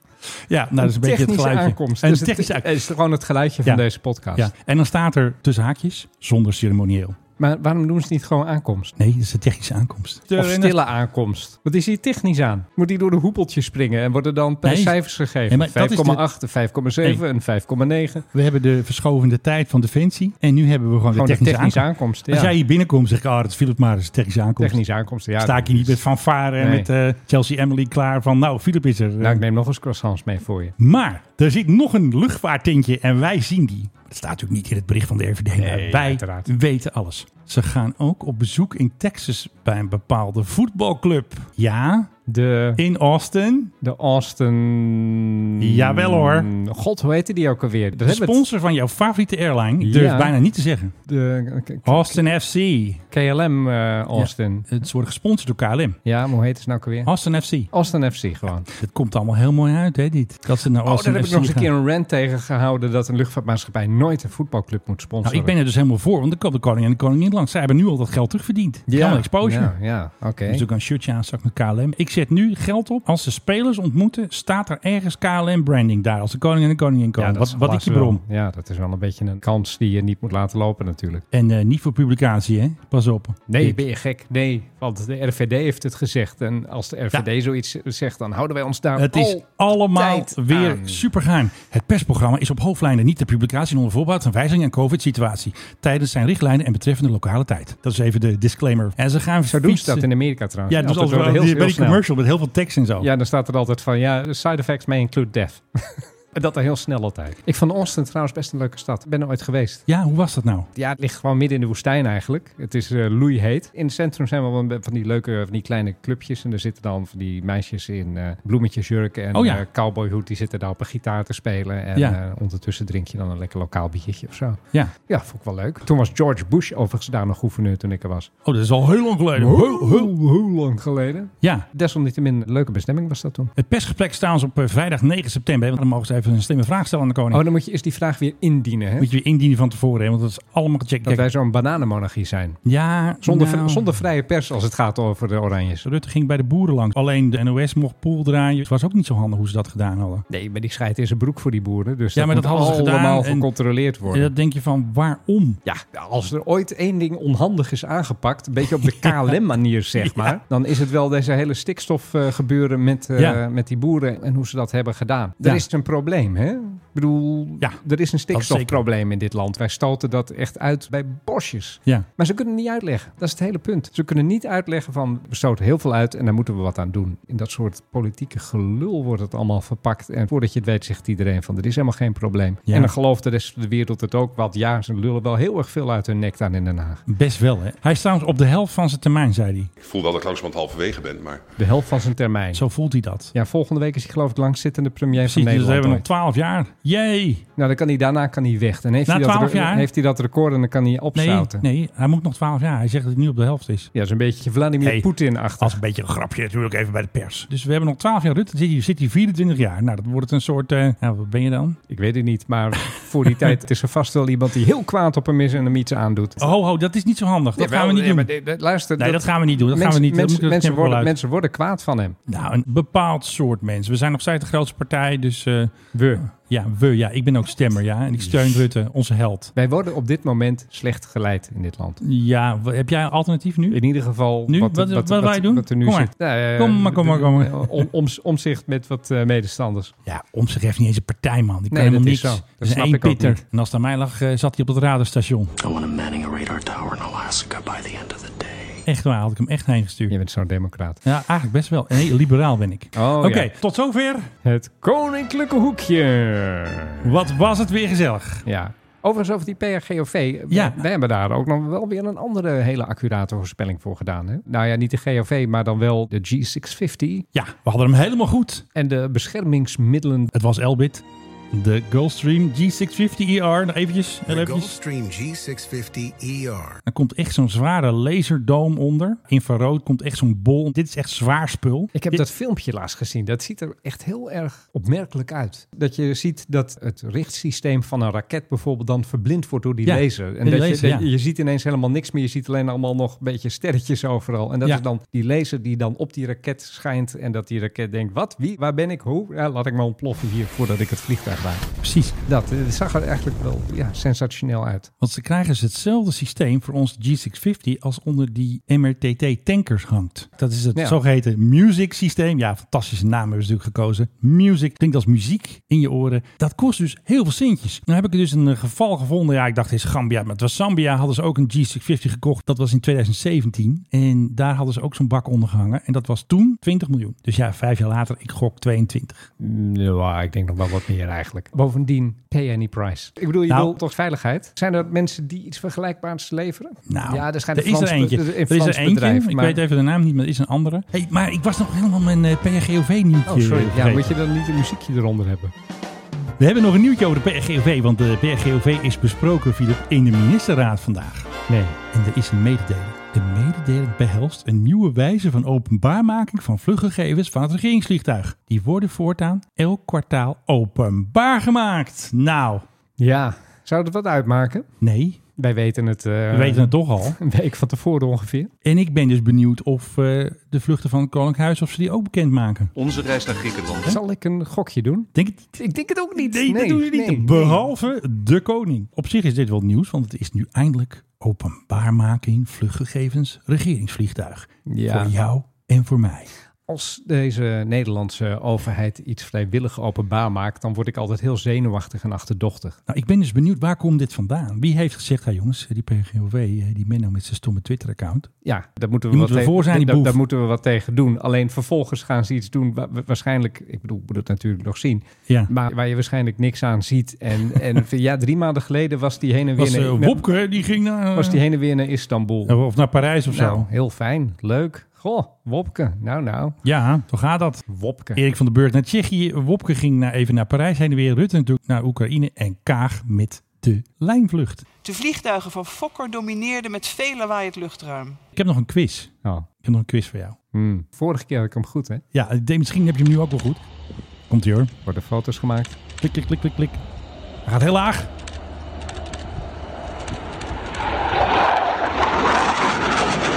ja, nou, dat is een beetje het
technische
geluidje.
aankomst.
Een
Dus
technische
het,
aankomst.
het is gewoon het geluidje
Ja.
van deze podcast.
Ja, en dan staat er tussen haakjes, zonder ceremonieel.
Maar waarom doen ze niet gewoon aankomst?
Nee, dat is een technische aankomst.
Of stille aankomst. Wat is hier technisch aan? Moet die door de hoepeltjes springen en worden dan
Nee.
prijscijfers
Nee,
gegeven?
maar dat is de-
5,8, een 5,7
Nee.
en 5,9.
We hebben de verschovende tijd van Defensie. En nu hebben we gewoon,
Gewoon
de
de
technische,
technische
aankomst.
aankomst.
Als
ja.
jij hier binnenkomt, zeg ik, ah, dat is Philip maar, dat is een technische aankomst.
Technische aankomst, ja.
Sta ik hier niet met fanfare en
Nee.
met eh, Chelsea Emily klaar van, nou, Philip is er.
Nou, ik neem nog eens croissants mee voor je.
Maar er zit nog een luchtvaarttintje en wij zien die. Dat staat natuurlijk niet in het bericht van de RVD, maar
Nee,
wij
uiteraard.
weten alles. Ze gaan ook op bezoek in Texas bij een bepaalde voetbalclub. Ja,
De,
in Austin.
de Austin...
Jawel hoor.
God, hoe heette die ook alweer? Dat
De
hebben we het-
sponsor van jouw favoriete airline. Ik durf
Ja.
bijna niet te zeggen.
De K- K-
Austin FC.
KLM eh, Austin.
Het wordt gesponsord door KLM.
Ja, maar hoe heet het nou ook alweer?
Austin FC.
Austin FC gewoon.
Het komt allemaal heel mooi uit, hè, dit. Dat ze naar
Oh,
Austin
daar heb ik
FC
nog eens een
gaan.
keer een rant tegen gehouden dat een luchtvaartmaatschappij nooit een voetbalclub moet sponsoren.
Nou, ik ben er dus helemaal voor, want dan komen de koning en de koningin langs. Zij hebben nu al dat geld terugverdiend. Ja. Helemaal exposure.
Ja, ja oké.
Dus ik een shirtje aanstak met KLM. Ik zet nu geld op. Als de spelers ontmoeten, staat er ergens KLM branding daar. Als de koning en de koningin
Ja,
komen.
dat
wat
is
wat ik
helaas
je
wel-
brom.
Ja, dat is wel een beetje een kans die je niet moet laten lopen natuurlijk.
En eh, niet voor publicatie, hè? Pas op.
Nee,
Dit.
ben je gek? Nee, want de RVD heeft het gezegd. En als de RVD zoiets zegt, dan houden wij ons daar
Het is
al-
allemaal
tijd
weer
aan.
supergeheim. Het persprogramma is op hoofdlijnen niet de publicatie onder voorbehoud van wijzigingen aan COVID-situatie. Tijdens zijn richtlijnen en betreffende lokale tijd. Dat is even de disclaimer. En ze gaan
Zo doen ze dat
fietsen.
in Amerika trouwens.
Ja, dus als
Altijd
we
wel
bij die
snel.
commercial met heel veel tekst en zo.
Ja, dan staat er altijd van, ja, side effects may include death. En dat al heel snel altijd. Ik vond Austin trouwens best een leuke stad. Ik ben er ooit geweest.
Ja, hoe was dat nou?
Ja, het ligt gewoon midden in de woestijn eigenlijk. Het is eh loeiheet. In het centrum zijn wel een- van die leuke, van die kleine clubjes. En daar zitten dan van die meisjes in eh bloemetjesjurken en
Oh ja.
eh, cowboyhoed. Die zitten daar op een gitaar te spelen. En
Ja.
eh, ondertussen drink je dan een lekker lokaal biertje of zo.
Ja.
Ja, vond ik wel leuk. Toen was George Bush overigens daar nog gouverneur toen ik er was.
Oh, dat is al heel lang geleden. Heel, heel-
heel lang geleden.
Ja,
Desalniettemin een leuke bestemming was dat toen.
het persgeplek staan ze op eh, vrijdag 9 september. hè, Want dan mogen ze even een slimme vraag stellen aan de koning.
Oh, dan moet je eerst die vraag weer indienen, hè?
Moet je weer indienen van tevoren, hè, want dat is allemaal gecheckt.
Dat wij zo'n bananenmonarchie zijn.
Ja,
Zonder,
nou,
zonder vrije pers als het gaat over de Oranjes.
Rutte ging bij de boeren langs. Alleen de NOS mocht pool draaien. Het was ook niet zo handig hoe ze dat gedaan hadden.
Nee, maar die scheidt in zijn broek voor die boeren. Dus
Ja,
dat
maar dat
moet
hadden ze gedaan
allemaal
en-
gecontroleerd
En
worden.
dat denk je van, waarom?
Ja, als er ooit één ding onhandig is aangepakt, een beetje op de KLM-manier zeg maar, dan is het wel deze hele stikstofgebeuren met, eh,
Ja.
met die boeren en hoe ze dat hebben gedaan.
Ja.
Er is een probleem, hè? Ik bedoel,
Ja,
er is een
zeker.
stikstofprobleem in dit land. Wij stoten dat echt uit bij bosjes.
Ja.
Maar ze kunnen niet uitleggen. Dat is het hele punt. Ze kunnen niet uitleggen van we stoten heel veel uit en daar moeten we wat aan doen. In dat soort politieke gelul wordt het allemaal verpakt. En voordat je het weet, zegt iedereen van er is helemaal geen probleem.
Ja.
En dan gelooft de rest van de wereld het ook. Want ja, ze lullen wel heel erg veel uit hun nek aan in Den Haag.
Best wel, hè? Hij is trouwens op de helft van zijn termijn, zei hij.
Ik voel wel dat ik langzamerhand halverwege ben, maar
De helft van zijn termijn.
Zo voelt hij dat.
Ja, volgende week is hij geloof ik langzittende premier
Precies,
van
dus dat
Nederland.
hebben we nog
ooit.
12 jaar. Jee!
Nou, dan kan hij, daarna kan hij weg. En heeft,
Na
hij dat,
12 jaar?
heeft hij dat record en dan kan hij
Nee,
opzouten.
nee, hij moet nog 12 jaar. Hij zegt dat hij nu op de helft is.
Ja, dat is een beetje Vladimir
Hey.
Poetin achter.
Als een beetje een grapje natuurlijk even bij de pers. Dus we hebben nog 12 jaar Rutte. Dan zit hij, zit hij 24 jaar. Nou, dat wordt een soort... eh, nou, wat ben je dan?
Ik weet het niet, maar voor die tijd is er vast wel iemand die heel kwaad op hem is en hem iets aandoet.
Ho, ho, dat is niet zo handig. Dat gaan we niet
Ja,
doen.
maar de- de- luister,
Nee, dat gaan we niet doen. Dat
mensen,
gaan we niet
mensen,
doen.
mensen, worden, mensen worden kwaad van hem.
Nou, een bepaald soort mensen. We zijn nog steeds de grootste partij, dus... eh,
We.
ja, we, ja. Ik ben ook stemmer, ja. En ik steun Rutte, onze held.
Wij worden op dit moment slecht geleid in dit land.
Ja, wa- heb jij een alternatief nu?
In ieder geval
Nu?
wat,
Wat- wat wij doen?
er nu
Kom maar.
zit. Nou, eh,
Kom maar, kom maar, kom maar.
eh, om- oms- omzicht met wat eh, medestanders.
Ja, Omtzigt heeft niet eens een partij, man. Die kan
Nee,
helemaal
dat is
niks.
zo. Dat
is
snap
één
ik ook
pitter.
niet.
En als het aan mij lag, eh, zat hij op het radarstation.
I want him manning a radar tower in Alaska by the end of the day.
Echt waar, had ik hem echt heen gestuurd.
Je
Ja,
bent zo'n democraat.
eigenlijk best wel. En heel liberaal ben ik.
Oh,
Oké,
ja.
tot zover.
Het koninklijke hoekje.
Wat was het weer gezellig.
Ja. Overigens over die PRGOV.
Ja.
We hebben daar ook nog wel weer een andere hele accurate voorspelling voor gedaan. Hè? Nou ja, niet de GOV, maar dan wel de G650
Ja, we hadden hem helemaal goed.
en de beschermingsmiddelen.
Het was Elbit. De Gulfstream G650ER. Nog E Nou, eventjes. Heel
The
eventjes.
Gulfstream G650ER.
Er komt echt zo'n zware laserdoom onder. Infrarood komt echt zo'n bol. Dit is echt zwaar spul.
Ik heb
Dit-
dat filmpje laatst gezien. Dat ziet er echt heel erg opmerkelijk uit. Dat je ziet dat het richtsysteem van een raket bijvoorbeeld dan verblind wordt door die
Ja,
laser. En
die
dat je,
laser,
dat
ja.
je ziet ineens helemaal niks meer. Je ziet alleen allemaal nog een beetje sterretjes overal. En dat
Ja.
is dan die laser die dan op die raket schijnt. En dat die raket denkt, wat, wie, waar ben ik, hoe? Ja, laat ik maar ontploffen hier voordat ik het vliegtuig raak.
Precies.
Dat eh, zag er eigenlijk wel ja, sensationeel uit.
Want ze krijgen dus hetzelfde systeem voor ons G650 als onder die MRTT-tankers hangt. Dat is het
Ja.
zogeheten music systeem. Ja, fantastische naam hebben ze natuurlijk gekozen. Music klinkt als muziek in je oren. Dat kost dus heel veel centjes. Nou heb ik dus een eh, geval gevonden. Ja, ik dacht, dit is Gambia. Maar het was Zambia. Hadden ze ook een G650 gekocht. Dat was in 2017. En daar hadden ze ook zo'n bak onder gehangen. En dat was toen 20 miljoen. Dus ja, vijf jaar later, ik gok 22.
Ja, ik denk nog wel wat meer eigenlijk. Bovendien, pay any price. Ik bedoel, je
Nou.
wil toch veiligheid? Zijn er mensen die iets vergelijkbaars leveren?
Nou,
ja, er schijnt
er
een
is er
Frans be-
eentje.
een
Er is er
Frans
eentje.
bedrijf,
Ik
maar-
weet even de naam niet, maar er is een andere. Hey, maar ik was nog helemaal mijn eh, PRGOV nieuwtje.
Oh, sorry. Ja,
eh, vergeten.
moet je dan niet een muziekje eronder hebben?
We hebben nog een nieuwtje over de PRGOV, want de PRGOV is besproken Philip, in de ministerraad vandaag.
Nee.
En er is een mededeling. De mededeling behelst een nieuwe wijze van openbaarmaking van vluchtgegevens van het regeringsvliegtuig. Die worden voortaan elk kwartaal openbaar gemaakt. Nou,
Ja. Zou dat wat uitmaken?
nee,
Wij weten het eh,
we weten het toch al.
een week van tevoren ongeveer.
En ik ben dus benieuwd of eh, de vluchten van het Koninklijk Huis, of ze die ook bekendmaken.
Onze reis naar Griekenland.
Zal ik een gokje doen?
Denk het niet.
Ik denk het ook niet.
Nee, dat doe je niet. Behalve de koning. Op zich is dit wel nieuws, want het is nu eindelijk openbaarmaking vluchtgegevens regeringsvliegtuig.
Ja.
Voor jou en voor mij.
Als deze Nederlandse overheid iets vrijwillig openbaar maakt, dan word ik altijd heel zenuwachtig en achterdochtig.
Nou, ik ben dus benieuwd, waar komt dit vandaan? Wie heeft gezegd, hey jongens, die PGOW, eh, die Menno met zijn stomme Twitter-account.
Ja, daar moeten we,
Die
wat
moeten we
tegen-
voor zijn, die
daar-
boef.
daar moeten we wat tegen doen. Alleen vervolgens gaan ze iets doen. wa- wa- Waarschijnlijk, ik bedoel, ik moet het natuurlijk nog zien.
Ja.
Maar waar je waarschijnlijk niks aan ziet. En, en ja, drie maanden geleden was die heen en weer
Was eh,
naar,
Wopke, die ging naar... eh,
was die heen en weer naar Istanbul.
Of naar Parijs of
Nou,
zo.
heel fijn. Leuk. Goh, Wopke. Nou, nou.
Ja, zo gaat dat.
Wopke.
Erik van den Burg naar Tsjechië. Wopke ging naar, even naar Parijs heen en weer. Rutte natuurlijk naar Oekraïne. En Kaag met de lijnvlucht.
De vliegtuigen van Fokker domineerden met veel lawaai het luchtruim.
Ik heb nog een quiz.
Oh.
Ik heb nog een quiz voor jou.
Hmm. Vorige keer had ik hem goed, hè?
Ja, ik denk, misschien heb je hem nu ook wel goed. Komt ie hoor.
Worden foto's gemaakt.
Klik, klik, klik, klik, klik. Hij gaat heel laag.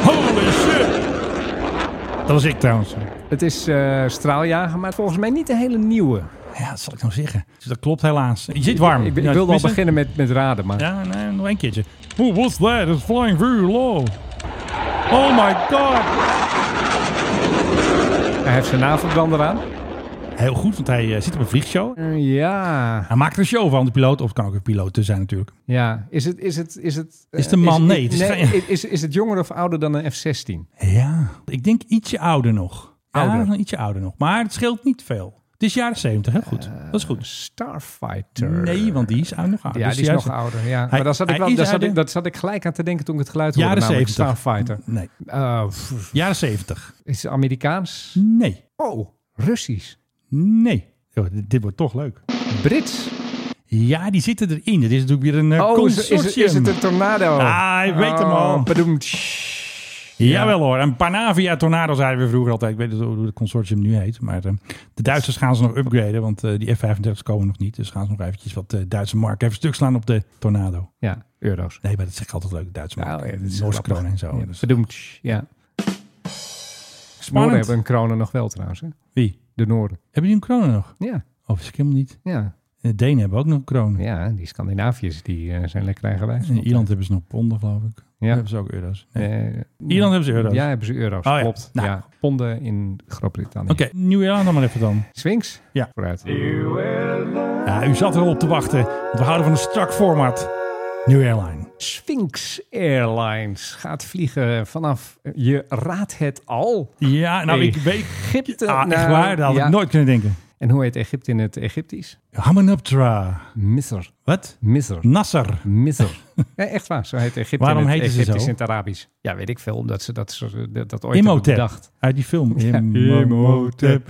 Holy shit! Dat was ik trouwens.
Het is eh, straaljager, maar volgens mij niet de hele nieuwe.
Ja, dat zal ik nou zeggen. Dus dat klopt helaas. Je zit warm. Nou,
Ik, ik
Ja,
wilde al
tenminste-
beginnen met, met raden, maar...
Ja, nee, nog een keertje. Oh, what's that? It's flying very low. Oh my god.
Hij heeft zijn navelbrander aan.
Heel goed, want hij eh, zit op een vliegshow.
Eh, ja.
Hij maakt er een show van, de piloot. Of het kan ook een piloot te zijn natuurlijk.
Ja. Is het... Is het, is het, eh,
Is het een man? Nee, het
Is,
is
nee,
geen-
is, is, het jonger of ouder dan een F-16?
Ja, ik denk ietsje ouder nog.
Ouder.
Ja, ietsje ouder nog. Maar het scheelt niet veel. Het is jaren 70, heel goed.
Eh,
Dat is goed.
Starfighter.
Nee, want die is ou- nog ouder.
Ja,
Dus
die is nog
juist-
ouder. Ja.
Hij-
maar daar zat, ik
hij
wel,
is
daar zat,
uit de-
ik, dat zat ik gelijk aan te denken toen ik het geluid hoorde.
Jaren
namelijk
70.
Starfighter.
Nee,
Eh, pff,
jaren 70.
is het Amerikaans?
Nee,
Oh, Russisch.
nee. Yo, dit dit wordt toch leuk.
Brits.
Ja, die zitten erin. Dit is natuurlijk weer een eh,
Oh, is,
consortium.
is, is het een tornado?
Ah, hij weet hem al.
Oh, bedoemd.
Jawel hoor, een Panavia Tornado zeiden we vroeger altijd. Ik weet niet hoe het consortium nu heet. Maar eh, de Duitsers gaan ze nog upgraden, want eh, die F-35's komen nog niet. Dus gaan ze nog eventjes wat eh, Duitse mark even stuk slaan op de Tornado.
Ja, euro's.
Nee, maar dat zeg ik altijd leuk, Duitse mark.
Nou, ja, dat is
Noorse
grappig.
kronen en zo.
Ja,
Dus-
bedoemd. Ja. Noorden hebben een kronen nog wel trouwens. Hè?
Wie?
De Noorden.
Hebben die een kronen nog?
Ja,
Of is ik helemaal niet.
ja.
De Denen hebben ook nog kronen.
ja die Scandinaviërs die eh, zijn lekker eigenwijs.
In Ierland hebben ze nog ponden, geloof ik.
Ja.
Ja. Hebben ze ook euro's. Nee.
Eh,
Ierland hebben ze euro's.
Ja, hebben ze euro's.
Oh, ja.
Klopt.
Nou.
Ja. Ponden in Groot-Brittannië.
Oké, Nieuw-Ierland dan maar even dan.
Sphinx?
Ja.
Vooruit.
Ja, u zat er al op te wachten, want we houden van een strak format. New Airline.
Sphinx Airlines gaat vliegen vanaf, eh, je raadt het al,
Ja, nou
Hey.
ik weet...
Egypte.
Ah, echt
naar-
waar? Dat had
Nou, Ja.
ik nooit kunnen denken.
En hoe heet Egypte in het Egyptisch?
Hamanoptera.
Misr.
Wat?
Misr.
Nasser.
Misr. ja, echt waar, zo heet Egypte
Waarom
in het
heten ze
Egyptisch
zo?
in het Arabisch. Ja, weet ik veel, omdat ze dat, zo- dat, dat ooit hebben
Imhotep.
bedacht.
Uit die film.
Ja.
Imhotep.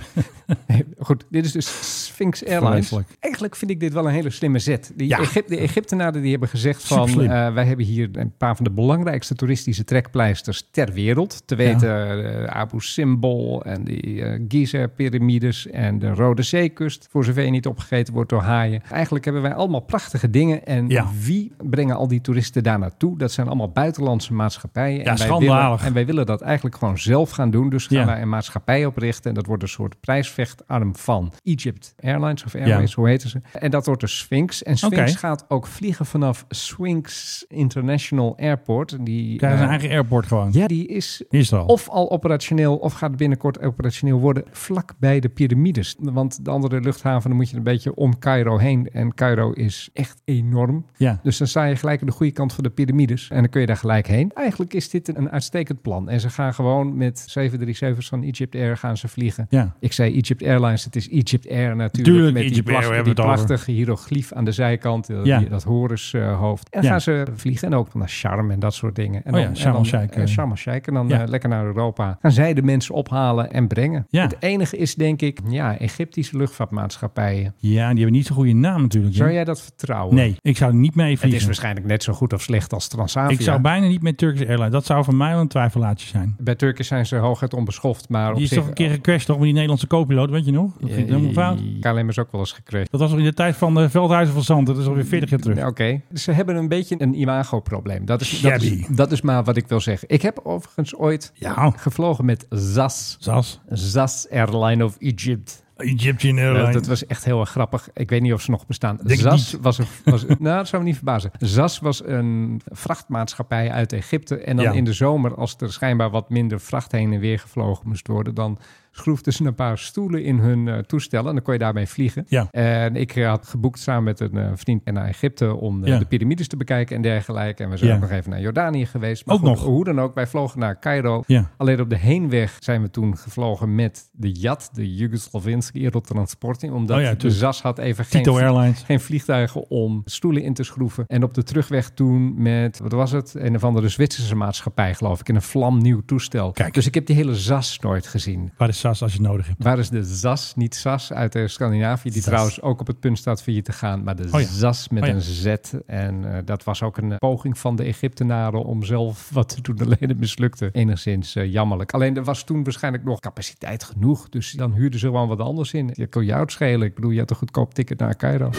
Goed, dit is dus Sphinx Airlines.
Vreselijk.
Eigenlijk vind ik dit wel een hele slimme zet. Die
Ja.
Egyp- de Egyptenaren die hebben gezegd van...
Superslim.
eh, wij hebben hier een paar van de belangrijkste toeristische trekpleisters ter wereld. Te weten eh, Abu Simbel en de eh, Giza-pyramides en de Rode Zeekust. Voor zover je niet opgegeten wordt door haaien. Eigenlijk hebben wij allemaal prachtige dingen. En
Ja.
wie brengen al die toeristen daar naartoe? Dat zijn allemaal buitenlandse maatschappijen.
Ja,
en, wij willen,
schandalig.
en wij willen dat eigenlijk gewoon zelf gaan doen. Dus gaan
Ja.
wij een maatschappij oprichten. En dat wordt een soort prijsvechtarm van Egypt Airlines of Airways,
Ja.
hoe heten ze. En dat wordt de Sphinx. En Sphinx
Oké.
gaat ook vliegen vanaf Sphinx International Airport. Die,
Daar is een
eh,
eigen airport gewoon.
ja, die is
Is er al.
of al operationeel of gaat binnenkort operationeel worden vlak bij de piramides. Want de andere luchthaven dan moet je een beetje om Cairo heen. En Cairo is echt enorm.
Ja.
Dus dan sta je gelijk aan de goede kant van de piramides. En dan kun je daar gelijk heen. Eigenlijk is dit een uitstekend plan. En ze gaan gewoon met 737's van Egypt Air gaan ze vliegen.
Ja.
Ik zei Egypt Airlines, het is Egypt Air natuurlijk.
Tuurlijk,
met die,
Egypt Air, we
placht-
hebben
die
het over.
prachtige hieroglyf aan de zijkant. eh,
Ja.
die- dat horushoofd. En
Ja.
gaan ze vliegen. En ook naar Sharm en dat soort dingen. En
Oh ja,
dan- en
Sharm
dan-
el-Sheikh,
eh,
eh.
Sharm Sharm-el-Sheikh en dan
Ja.
eh, lekker naar Europa. Gaan zij de mensen ophalen en brengen.
Ja.
Het enige is denk ik, ja, Egyptische luchtvaartmaatschappijen.
ja, die hebben niet zo'n goede naam natuurlijk. hè?
Zou jij dat vertrouwen?
Nee, ik zou er niet mee
Het
vliegen.
is waarschijnlijk net zo goed of slecht als Transavia.
ik zou bijna niet met Turkish Airlines. Dat zou voor mij wel een twijfelaatje zijn.
Bij Turkish zijn ze hooguit onbeschoft, maar op
Die is
zich...
toch een keer gecrashed toch met die Nederlandse co-piloot, weet je nog? Dat ging helemaal fout.
KLM is ook wel eens gecrashed.
Dat was nog in de tijd van eh, Veldhuizen van Zanten. Dat is alweer 40 jaar terug.
Oké, ze hebben een beetje een imago-probleem. Dat is, dat, is,
Shabby.
dat is maar wat ik wil zeggen. Ik heb overigens ooit
Ja.
gevlogen met ZAS.
Zas.
ZAS Airline of Egypt.
Egyptian
Ja,
Airlines.
dat was echt heel erg grappig. Ik weet niet of ze nog bestaan.
Denk ik
ZAS was een... Was, nou, dat zou me niet verbazen. ZAS was een vrachtmaatschappij uit Egypte. En dan
Ja.
in de zomer, als er schijnbaar wat minder vracht heen en weer gevlogen moest worden... dan schroefden ze een paar stoelen in hun eh, toestel en dan kon je daarmee vliegen.
Ja.
En ik eh, had geboekt samen met een eh, vriend naar Egypte om eh,
Ja.
de piramides te bekijken en dergelijke. En we zijn
Ja.
ook nog even naar Jordanië geweest. Maar
Ook
goed,
nog.
Hoe dan ook, wij vlogen naar Cairo.
Ja.
Alleen op de heenweg zijn we toen gevlogen met de JAT, de Jugoslavinski Aerotransporting, omdat
Oh ja,
de
tuurlijk.
ZAS had even
Tito
geen,
Airlines.
geen vliegtuigen om stoelen in te schroeven. En op de terugweg toen met, wat was het? Een of andere Zwitserse maatschappij, geloof ik, in een vlamnieuw toestel.
Kijk.
Dus ik heb die hele ZAS nooit gezien.
Waar is SAS als je het nodig hebt?
Waar is de ZAS, niet SAS, uit eh, Scandinavië, die
ZAS.
trouwens ook op het punt staat failliet te gaan, maar de
Oh ja.
ZAS met
Oh ja.
een Z. En eh, dat was ook een eh, poging van de Egyptenaren om zelf wat te doen, alleen het mislukte enigszins eh, jammerlijk. Alleen er was toen waarschijnlijk nog capaciteit genoeg, dus dan huurden ze gewoon wat anders in. Je kon je uitschelen, ik bedoel, je had een goedkoop ticket naar Cairo.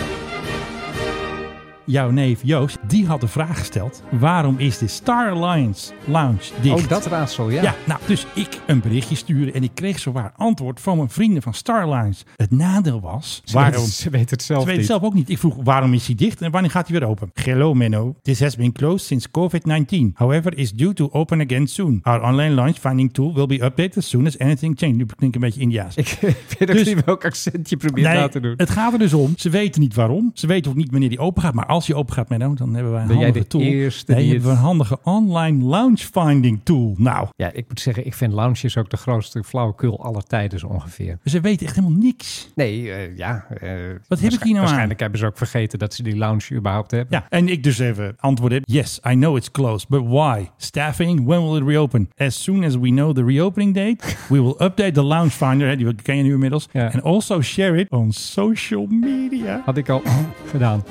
Jouw neef Joost, die had de vraag gesteld. Waarom is de Star Alliance Lounge dicht?
Oh, dat raadsel, ja.
Ja, nou, dus ik een berichtje sturen en ik kreeg zowaar antwoord van mijn vrienden van Star Alliance. Het nadeel was,
Ze
waarom...
weten- Ze weten het zelf
Ze weten
niet.
zelf ook niet. Ik vroeg waarom is hij dicht en wanneer gaat hij weer open? Hello Menno. This has been closed since COVID-19. However, is due to open again soon. Our online launch finding tool will be updated as soon as anything changes. Nu klinkt een beetje Indiaas.
Ik weet ook
Dus-
niet welk accent je probeert na te doen.
het gaat er dus om. Ze weten niet waarom. Ze weten ook niet wanneer die open gaat. Maar als die open gaat, Menno, dan hebben wij een
Ben jij
handige
de
tool.
eerste
nee,
die
hebben we
het-
een handige online lounge finding tool. Nou,
Ja, ik moet zeggen, ik vind lounges ook de grootste flauwekul aller tijden zo ongeveer.
ze weten echt helemaal niks.
Nee, eh, ja. eh, waarsch-
nou aan?
Waarschijnlijk hebben ze ook vergeten dat ze die lounge überhaupt hebben.
Ja, en ik dus even antwoord heb. Yes, I know it's closed, but why? Staffing, when will it reopen? As soon as we know the reopening date, we will update the lounge finder. Hè, die ken je nu inmiddels.
Ja.
And also share it on social media.
Had ik al gedaan.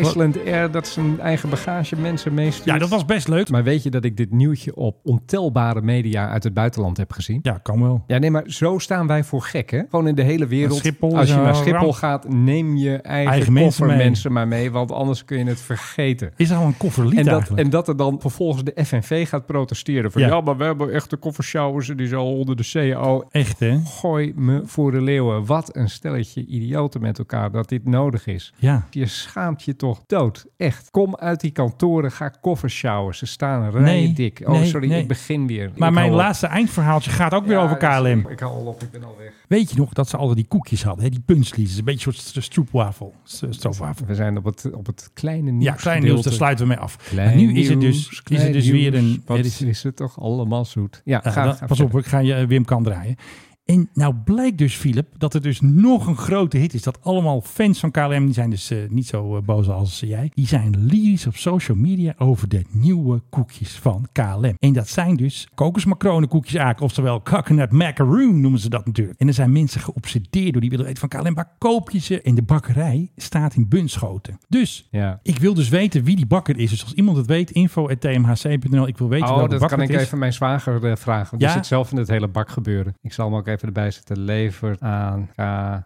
Iceland Air, dat zijn eigen bagage mensen meestuurt.
Ja, dat was best leuk.
Maar weet je dat ik dit nieuwtje op ontelbare media uit het buitenland heb gezien?
Ja, kan wel.
Ja, nee, maar zo staan wij voor gek, hè? Gewoon in de hele wereld.
Maar Schiphol
Als
is
je
een
naar Schiphol
ramp.
gaat, neem je eigen,
Eigen
koffer
mensen
mensen,
mee.
maar mee, want anders kun je het vergeten.
Is er al een koffer lied
En dat,
eigenlijk?
en dat er dan vervolgens de FNV gaat protesteren. Van
Ja.
ja, maar we hebben echte koffershowers en die zijn al onder de CAO.
Echt, hè?
Gooi me voor de leeuwen. Wat een stelletje idioten met elkaar dat dit nodig is.
Ja.
Je schaamt je toch dood. Echt. Kom uit die kantoren. Ga koffershowers. Ze staan rijen
Nee,
dik. Oh,
nee,
sorry.
nee.
Ik begin weer.
Maar
Ik
mijn
hou op.
laatste eindverhaaltje gaat ook weer
Ja,
over
dat is-
KLM.
Ik hou al op. Ik ben al weg.
Weet je nog dat ze altijd die koekjes hadden? Hè? Die punchlies. Een beetje een soort stroopwafel. Stroopwafel.
We zijn op het, op het kleine nieuws.
Ja, klein nieuws, daar
gedeelte.
sluiten we mee af.
Klein
nu is het
nieuws,
dus, is
klein
het dus
nieuws.
weer een...
Wat
er is-
is, het toch allemaal zoet? Ja,
Ja,
ga,
dan-
ga
pas op,
verder.
hoor, ik ga je eh, Wim kan draaien. En nou blijkt dus, Philip, dat er dus nog een grote hit is. Dat allemaal fans van KLM, die zijn dus eh, niet zo eh, boos als jij. Die zijn lyrisch op social media over de nieuwe koekjes van KLM. En dat zijn dus kokosmacronenkoekjes eigenlijk. Oftewel coconut macaroon noemen ze dat natuurlijk. En er zijn mensen geobsedeerd door die willen weten van KLM, waar koop je ze? En de bakkerij staat in Bunschoten. Dus...
Ja.
Ik wil dus weten wie die bakker is. Dus als iemand het weet, info.tmhc.nl. Ik wil weten welke
Oh, dat
bakker
kan ik
het is.
even mijn zwager eh, vragen. Want
Ja?
Die zit zelf in het hele bak gebeuren. Ik zal hem ook even erbij zetten. Levert aan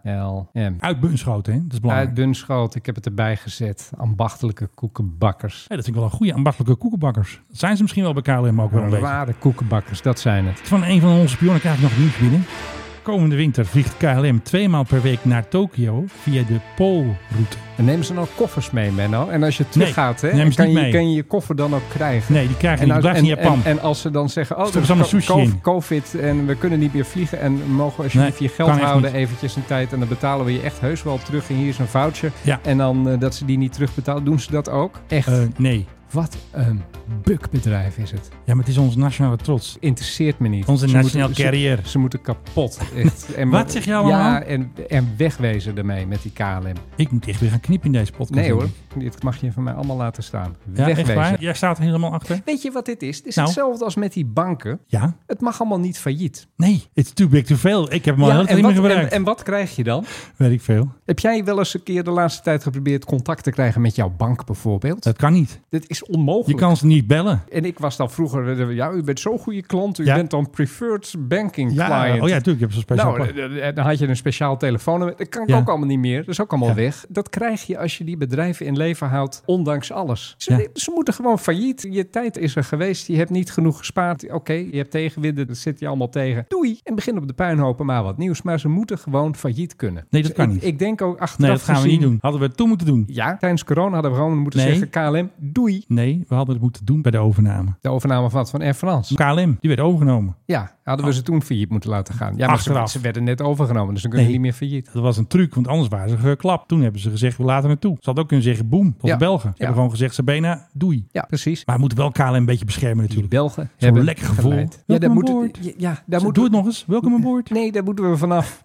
KLM.
Uit Bunschoten, hè? Dat is belangrijk.
Uit Bunschoot, ik heb het erbij gezet. Ambachtelijke koekenbakkers.
Ja, dat vind ik wel een goede ambachtelijke koekenbakkers. Dat zijn ze misschien wel bij KLM ook wel een beetje.
Rare koekenbakkers, dat zijn het.
Van een van onze pionnen krijg ik nog nieuws binnen. Komende winter vliegt KLM twee maal per week naar Tokio via de Poolroute.
En neem ze nou koffers mee, Menno. En als je teruggaat, hè,
neem ze
kan,
niet
je,
mee.
kan je je koffer dan ook krijgen.
Nee, die krijg je
En
niet. Die
als,
blijft
en,
in Japan.
en- en als ze dan zeggen, oh,
Stoppen
er is
ze allemaal
co-
sushi
co-
in.
COVID en we kunnen niet meer vliegen en mogen alsjeblieft
Nee,
je geld
kan echt
houden
niet.
eventjes een tijd en dan betalen we je echt heus wel terug en hier is een voucher.
Ja.
En dan eh, dat ze die niet terugbetalen, doen ze dat ook? Echt,
Eh, nee.
wat een bukbedrijf is het.
Ja, maar het is onze nationale trots.
Interesseert me niet.
Onze
Ze
nationale
moeten- ze-
carrière.
Ze moeten kapot. Echt. En
Wat
maar-
zeg jij allemaal?
Ja, en, en wegwezen ermee met die KLM.
Ik moet echt weer gaan knippen in deze podcast.
Nee hoor,
denk ik.
dit mag je van mij allemaal laten staan.
Ja, echt
wegwezen.
waar? Jij staat er helemaal achter?
Weet je wat dit is? Het is
Nou.
hetzelfde als met die banken.
Ja?
Het mag allemaal niet failliet.
Nee. It's too big to fail. Ik heb hem al
Ja,
heel veel
en,
niet meer
wat, en,
gebruikt.
en wat krijg je dan?
Weet ik veel.
Heb jij wel eens een keer de laatste tijd geprobeerd contact te krijgen met jouw bank bijvoorbeeld?
Dat kan niet.
Dit is
Je
onmogelijk.
kan ze niet bellen.
En ik was dan vroeger, eh, ja, u bent zo'n goede klant, u
Ja.
bent dan preferred banking
Ja.
client.
Oh ja, natuurlijk. Je hebt zo'n speciaal
Nou,
plan.
eh, eh, dan had je een speciaal telefoonnummer. Dat kan
Ja.
ook allemaal niet meer. Dat is ook allemaal
Ja.
weg. Dat krijg je als je die bedrijven in leven houdt, ondanks alles. Ze,
Ja.
ze moeten gewoon failliet. Je tijd is er geweest. Je hebt niet genoeg gespaard. Oké, je hebt tegenwinden. Dat zit je allemaal tegen. Doei. En begin op de puinhopen maar wat nieuws. Maar ze moeten gewoon failliet kunnen.
Nee, dat
Dus
kan
ik,
niet.
Ik denk ook achteraf
Nee, dat gaan we
gezien-
niet doen. Hadden we het toen moeten doen.
Ja, tijdens corona hadden we gewoon moeten
Nee.
zeggen KLM, doei.
Nee, we hadden het moeten doen bij de overname. Dus
De overname van, wat? van Air France.
KLM, die werd overgenomen.
Ja, Hadden we ze toen failliet moeten laten gaan? Ja, maar ze,
Ah. Achteraf.
ze werden net overgenomen, dus dan kunnen
Nee.
ze niet meer failliet.
Dat was een truc, want anders waren ze geklapt. Toen hebben ze gezegd, we laten het toe. Ze hadden ook kunnen zeggen, boem, tot
Ja.
de Belgen. Ze
Ja.
hebben gewoon gezegd, Sabena, doei.
Ja, precies.
Maar we moeten wel KLM een beetje beschermen
Die
natuurlijk.
Belgen
Zo'n
hebben
lekker gevoel.
geleid. Ja,
Welkom
daar
aan
moet,
boord.
ja, ja, daar
Zo,
moet,
Doe het nog eens. Welkom aan boord.
Nee, daar moeten we vanaf.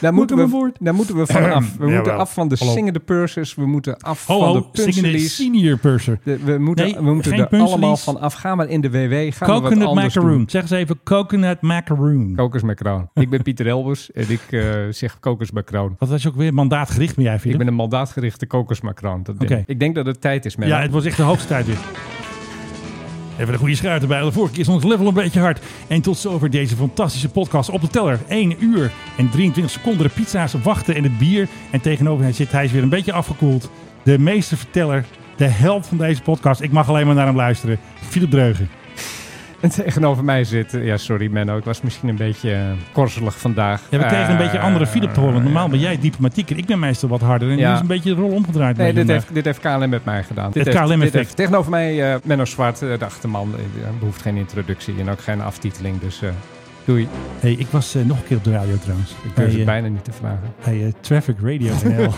Daar moeten,
we
we,
voort.
daar moeten we vanaf. We moeten
Jawel.
af van de
Hallo.
singende pursers. We moeten af
Ho,
van
ho,
de
zingende
punselies.
senior purser.
De- We moeten,
Nee,
we moeten
geen
er
punselies.
allemaal van af. Gaan we in de WW. Gaan we wat
Coconut
anders
macaroon.
doen.
Zeg eens even coconut macaroon.
Kokosmacaroon. ik ben Pieter Elbers en ik eh zeg kokosmacaroon.
Wat was je ook weer? Mandaatgericht ben jij,
Ik
Philip?
ben een mandaatgerichte kokosmacaroon. Dat ben
Oké.
ik. Ik denk dat het tijd is,
Ja,
Menno.
het was echt de hoogste tijd weer. Even een goede schuit erbij. want De vorige keer is ons level een beetje hard. En tot zover deze fantastische podcast. Op de teller 1 uur en 23 seconden. De pizza's wachten en het bier. En tegenover hem zit hij is weer een beetje afgekoeld. De meesterverteller. De held van deze podcast. Ik mag alleen maar naar hem luisteren. Philip Dreugen.
En tegenover mij zit... eh, Ja, sorry Menno. Ik was misschien een beetje eh, korzelig vandaag.
Ja, we kregen een
Eh,
beetje andere Philip te horen. Want normaal ben jij diplomatieker. Ik ben meestal wat harder. En
Ja.
nu is een beetje de rol omgedraaid. bij
Nee, dit
vandaag.
heeft, dit heeft KLM met mij gedaan. Dit
Het
heeft-
KLM
dit
effect.
heeft- Tegenover mij eh, Menno Zwart, eh, de achterman. Eh, Er behoeft geen introductie en ook geen aftiteling. Dus eh, doei.
hey, ik was eh, nog een keer op de radio trouwens.
Ik durf
Bij,
het
eh,
bijna niet te vragen.
bij eh, Traffic Radio NL.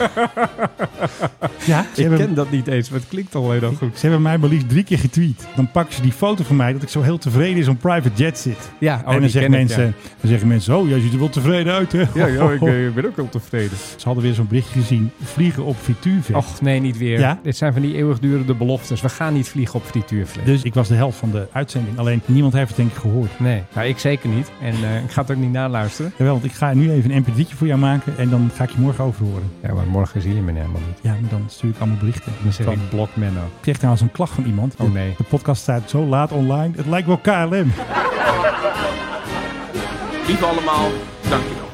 ja, ze
Ik
hebben-
ken dat niet eens, maar het klinkt al heel goed.
Ze hebben mij maar liefst drie keer getweet. Dan pakken ze die foto van mij dat ik zo heel tevreden in zo'n private jet zit.
Ja, oh,
en
die
dan, zeggen
ken ik,
mensen, dan zeggen mensen, oh, jij ziet er wel tevreden uit, hè?
Ja, ja, ik eh, ben ook wel tevreden.
Ze hadden weer zo'n berichtje gezien, vliegen op frituurvet.
Och, nee, niet weer.
Ja?
Dit zijn van die eeuwigdurende beloftes. We gaan niet vliegen op frituurvlees.
Dus ik was de helft van de uitzending. Alleen niemand heeft het denk ik gehoord.
Nee, nou, ik zeker niet. En eh, ik ga het ook niet naluisteren.
Jawel, want ik ga nu even een mp3'tje voor jou maken en dan ga ik je morgen overhoren.
Ja, maar morgen zie je me helemaal niet.
Ja, maar dan stuur ik allemaal berichten.
Dan zeg
Dan-
ik blok Menno.
Ik kreeg trouwens een klacht van iemand.
Oh, nee.
De podcast staat zo laat online. Het lijkt wel KLM.
Lieve allemaal, dankjewel.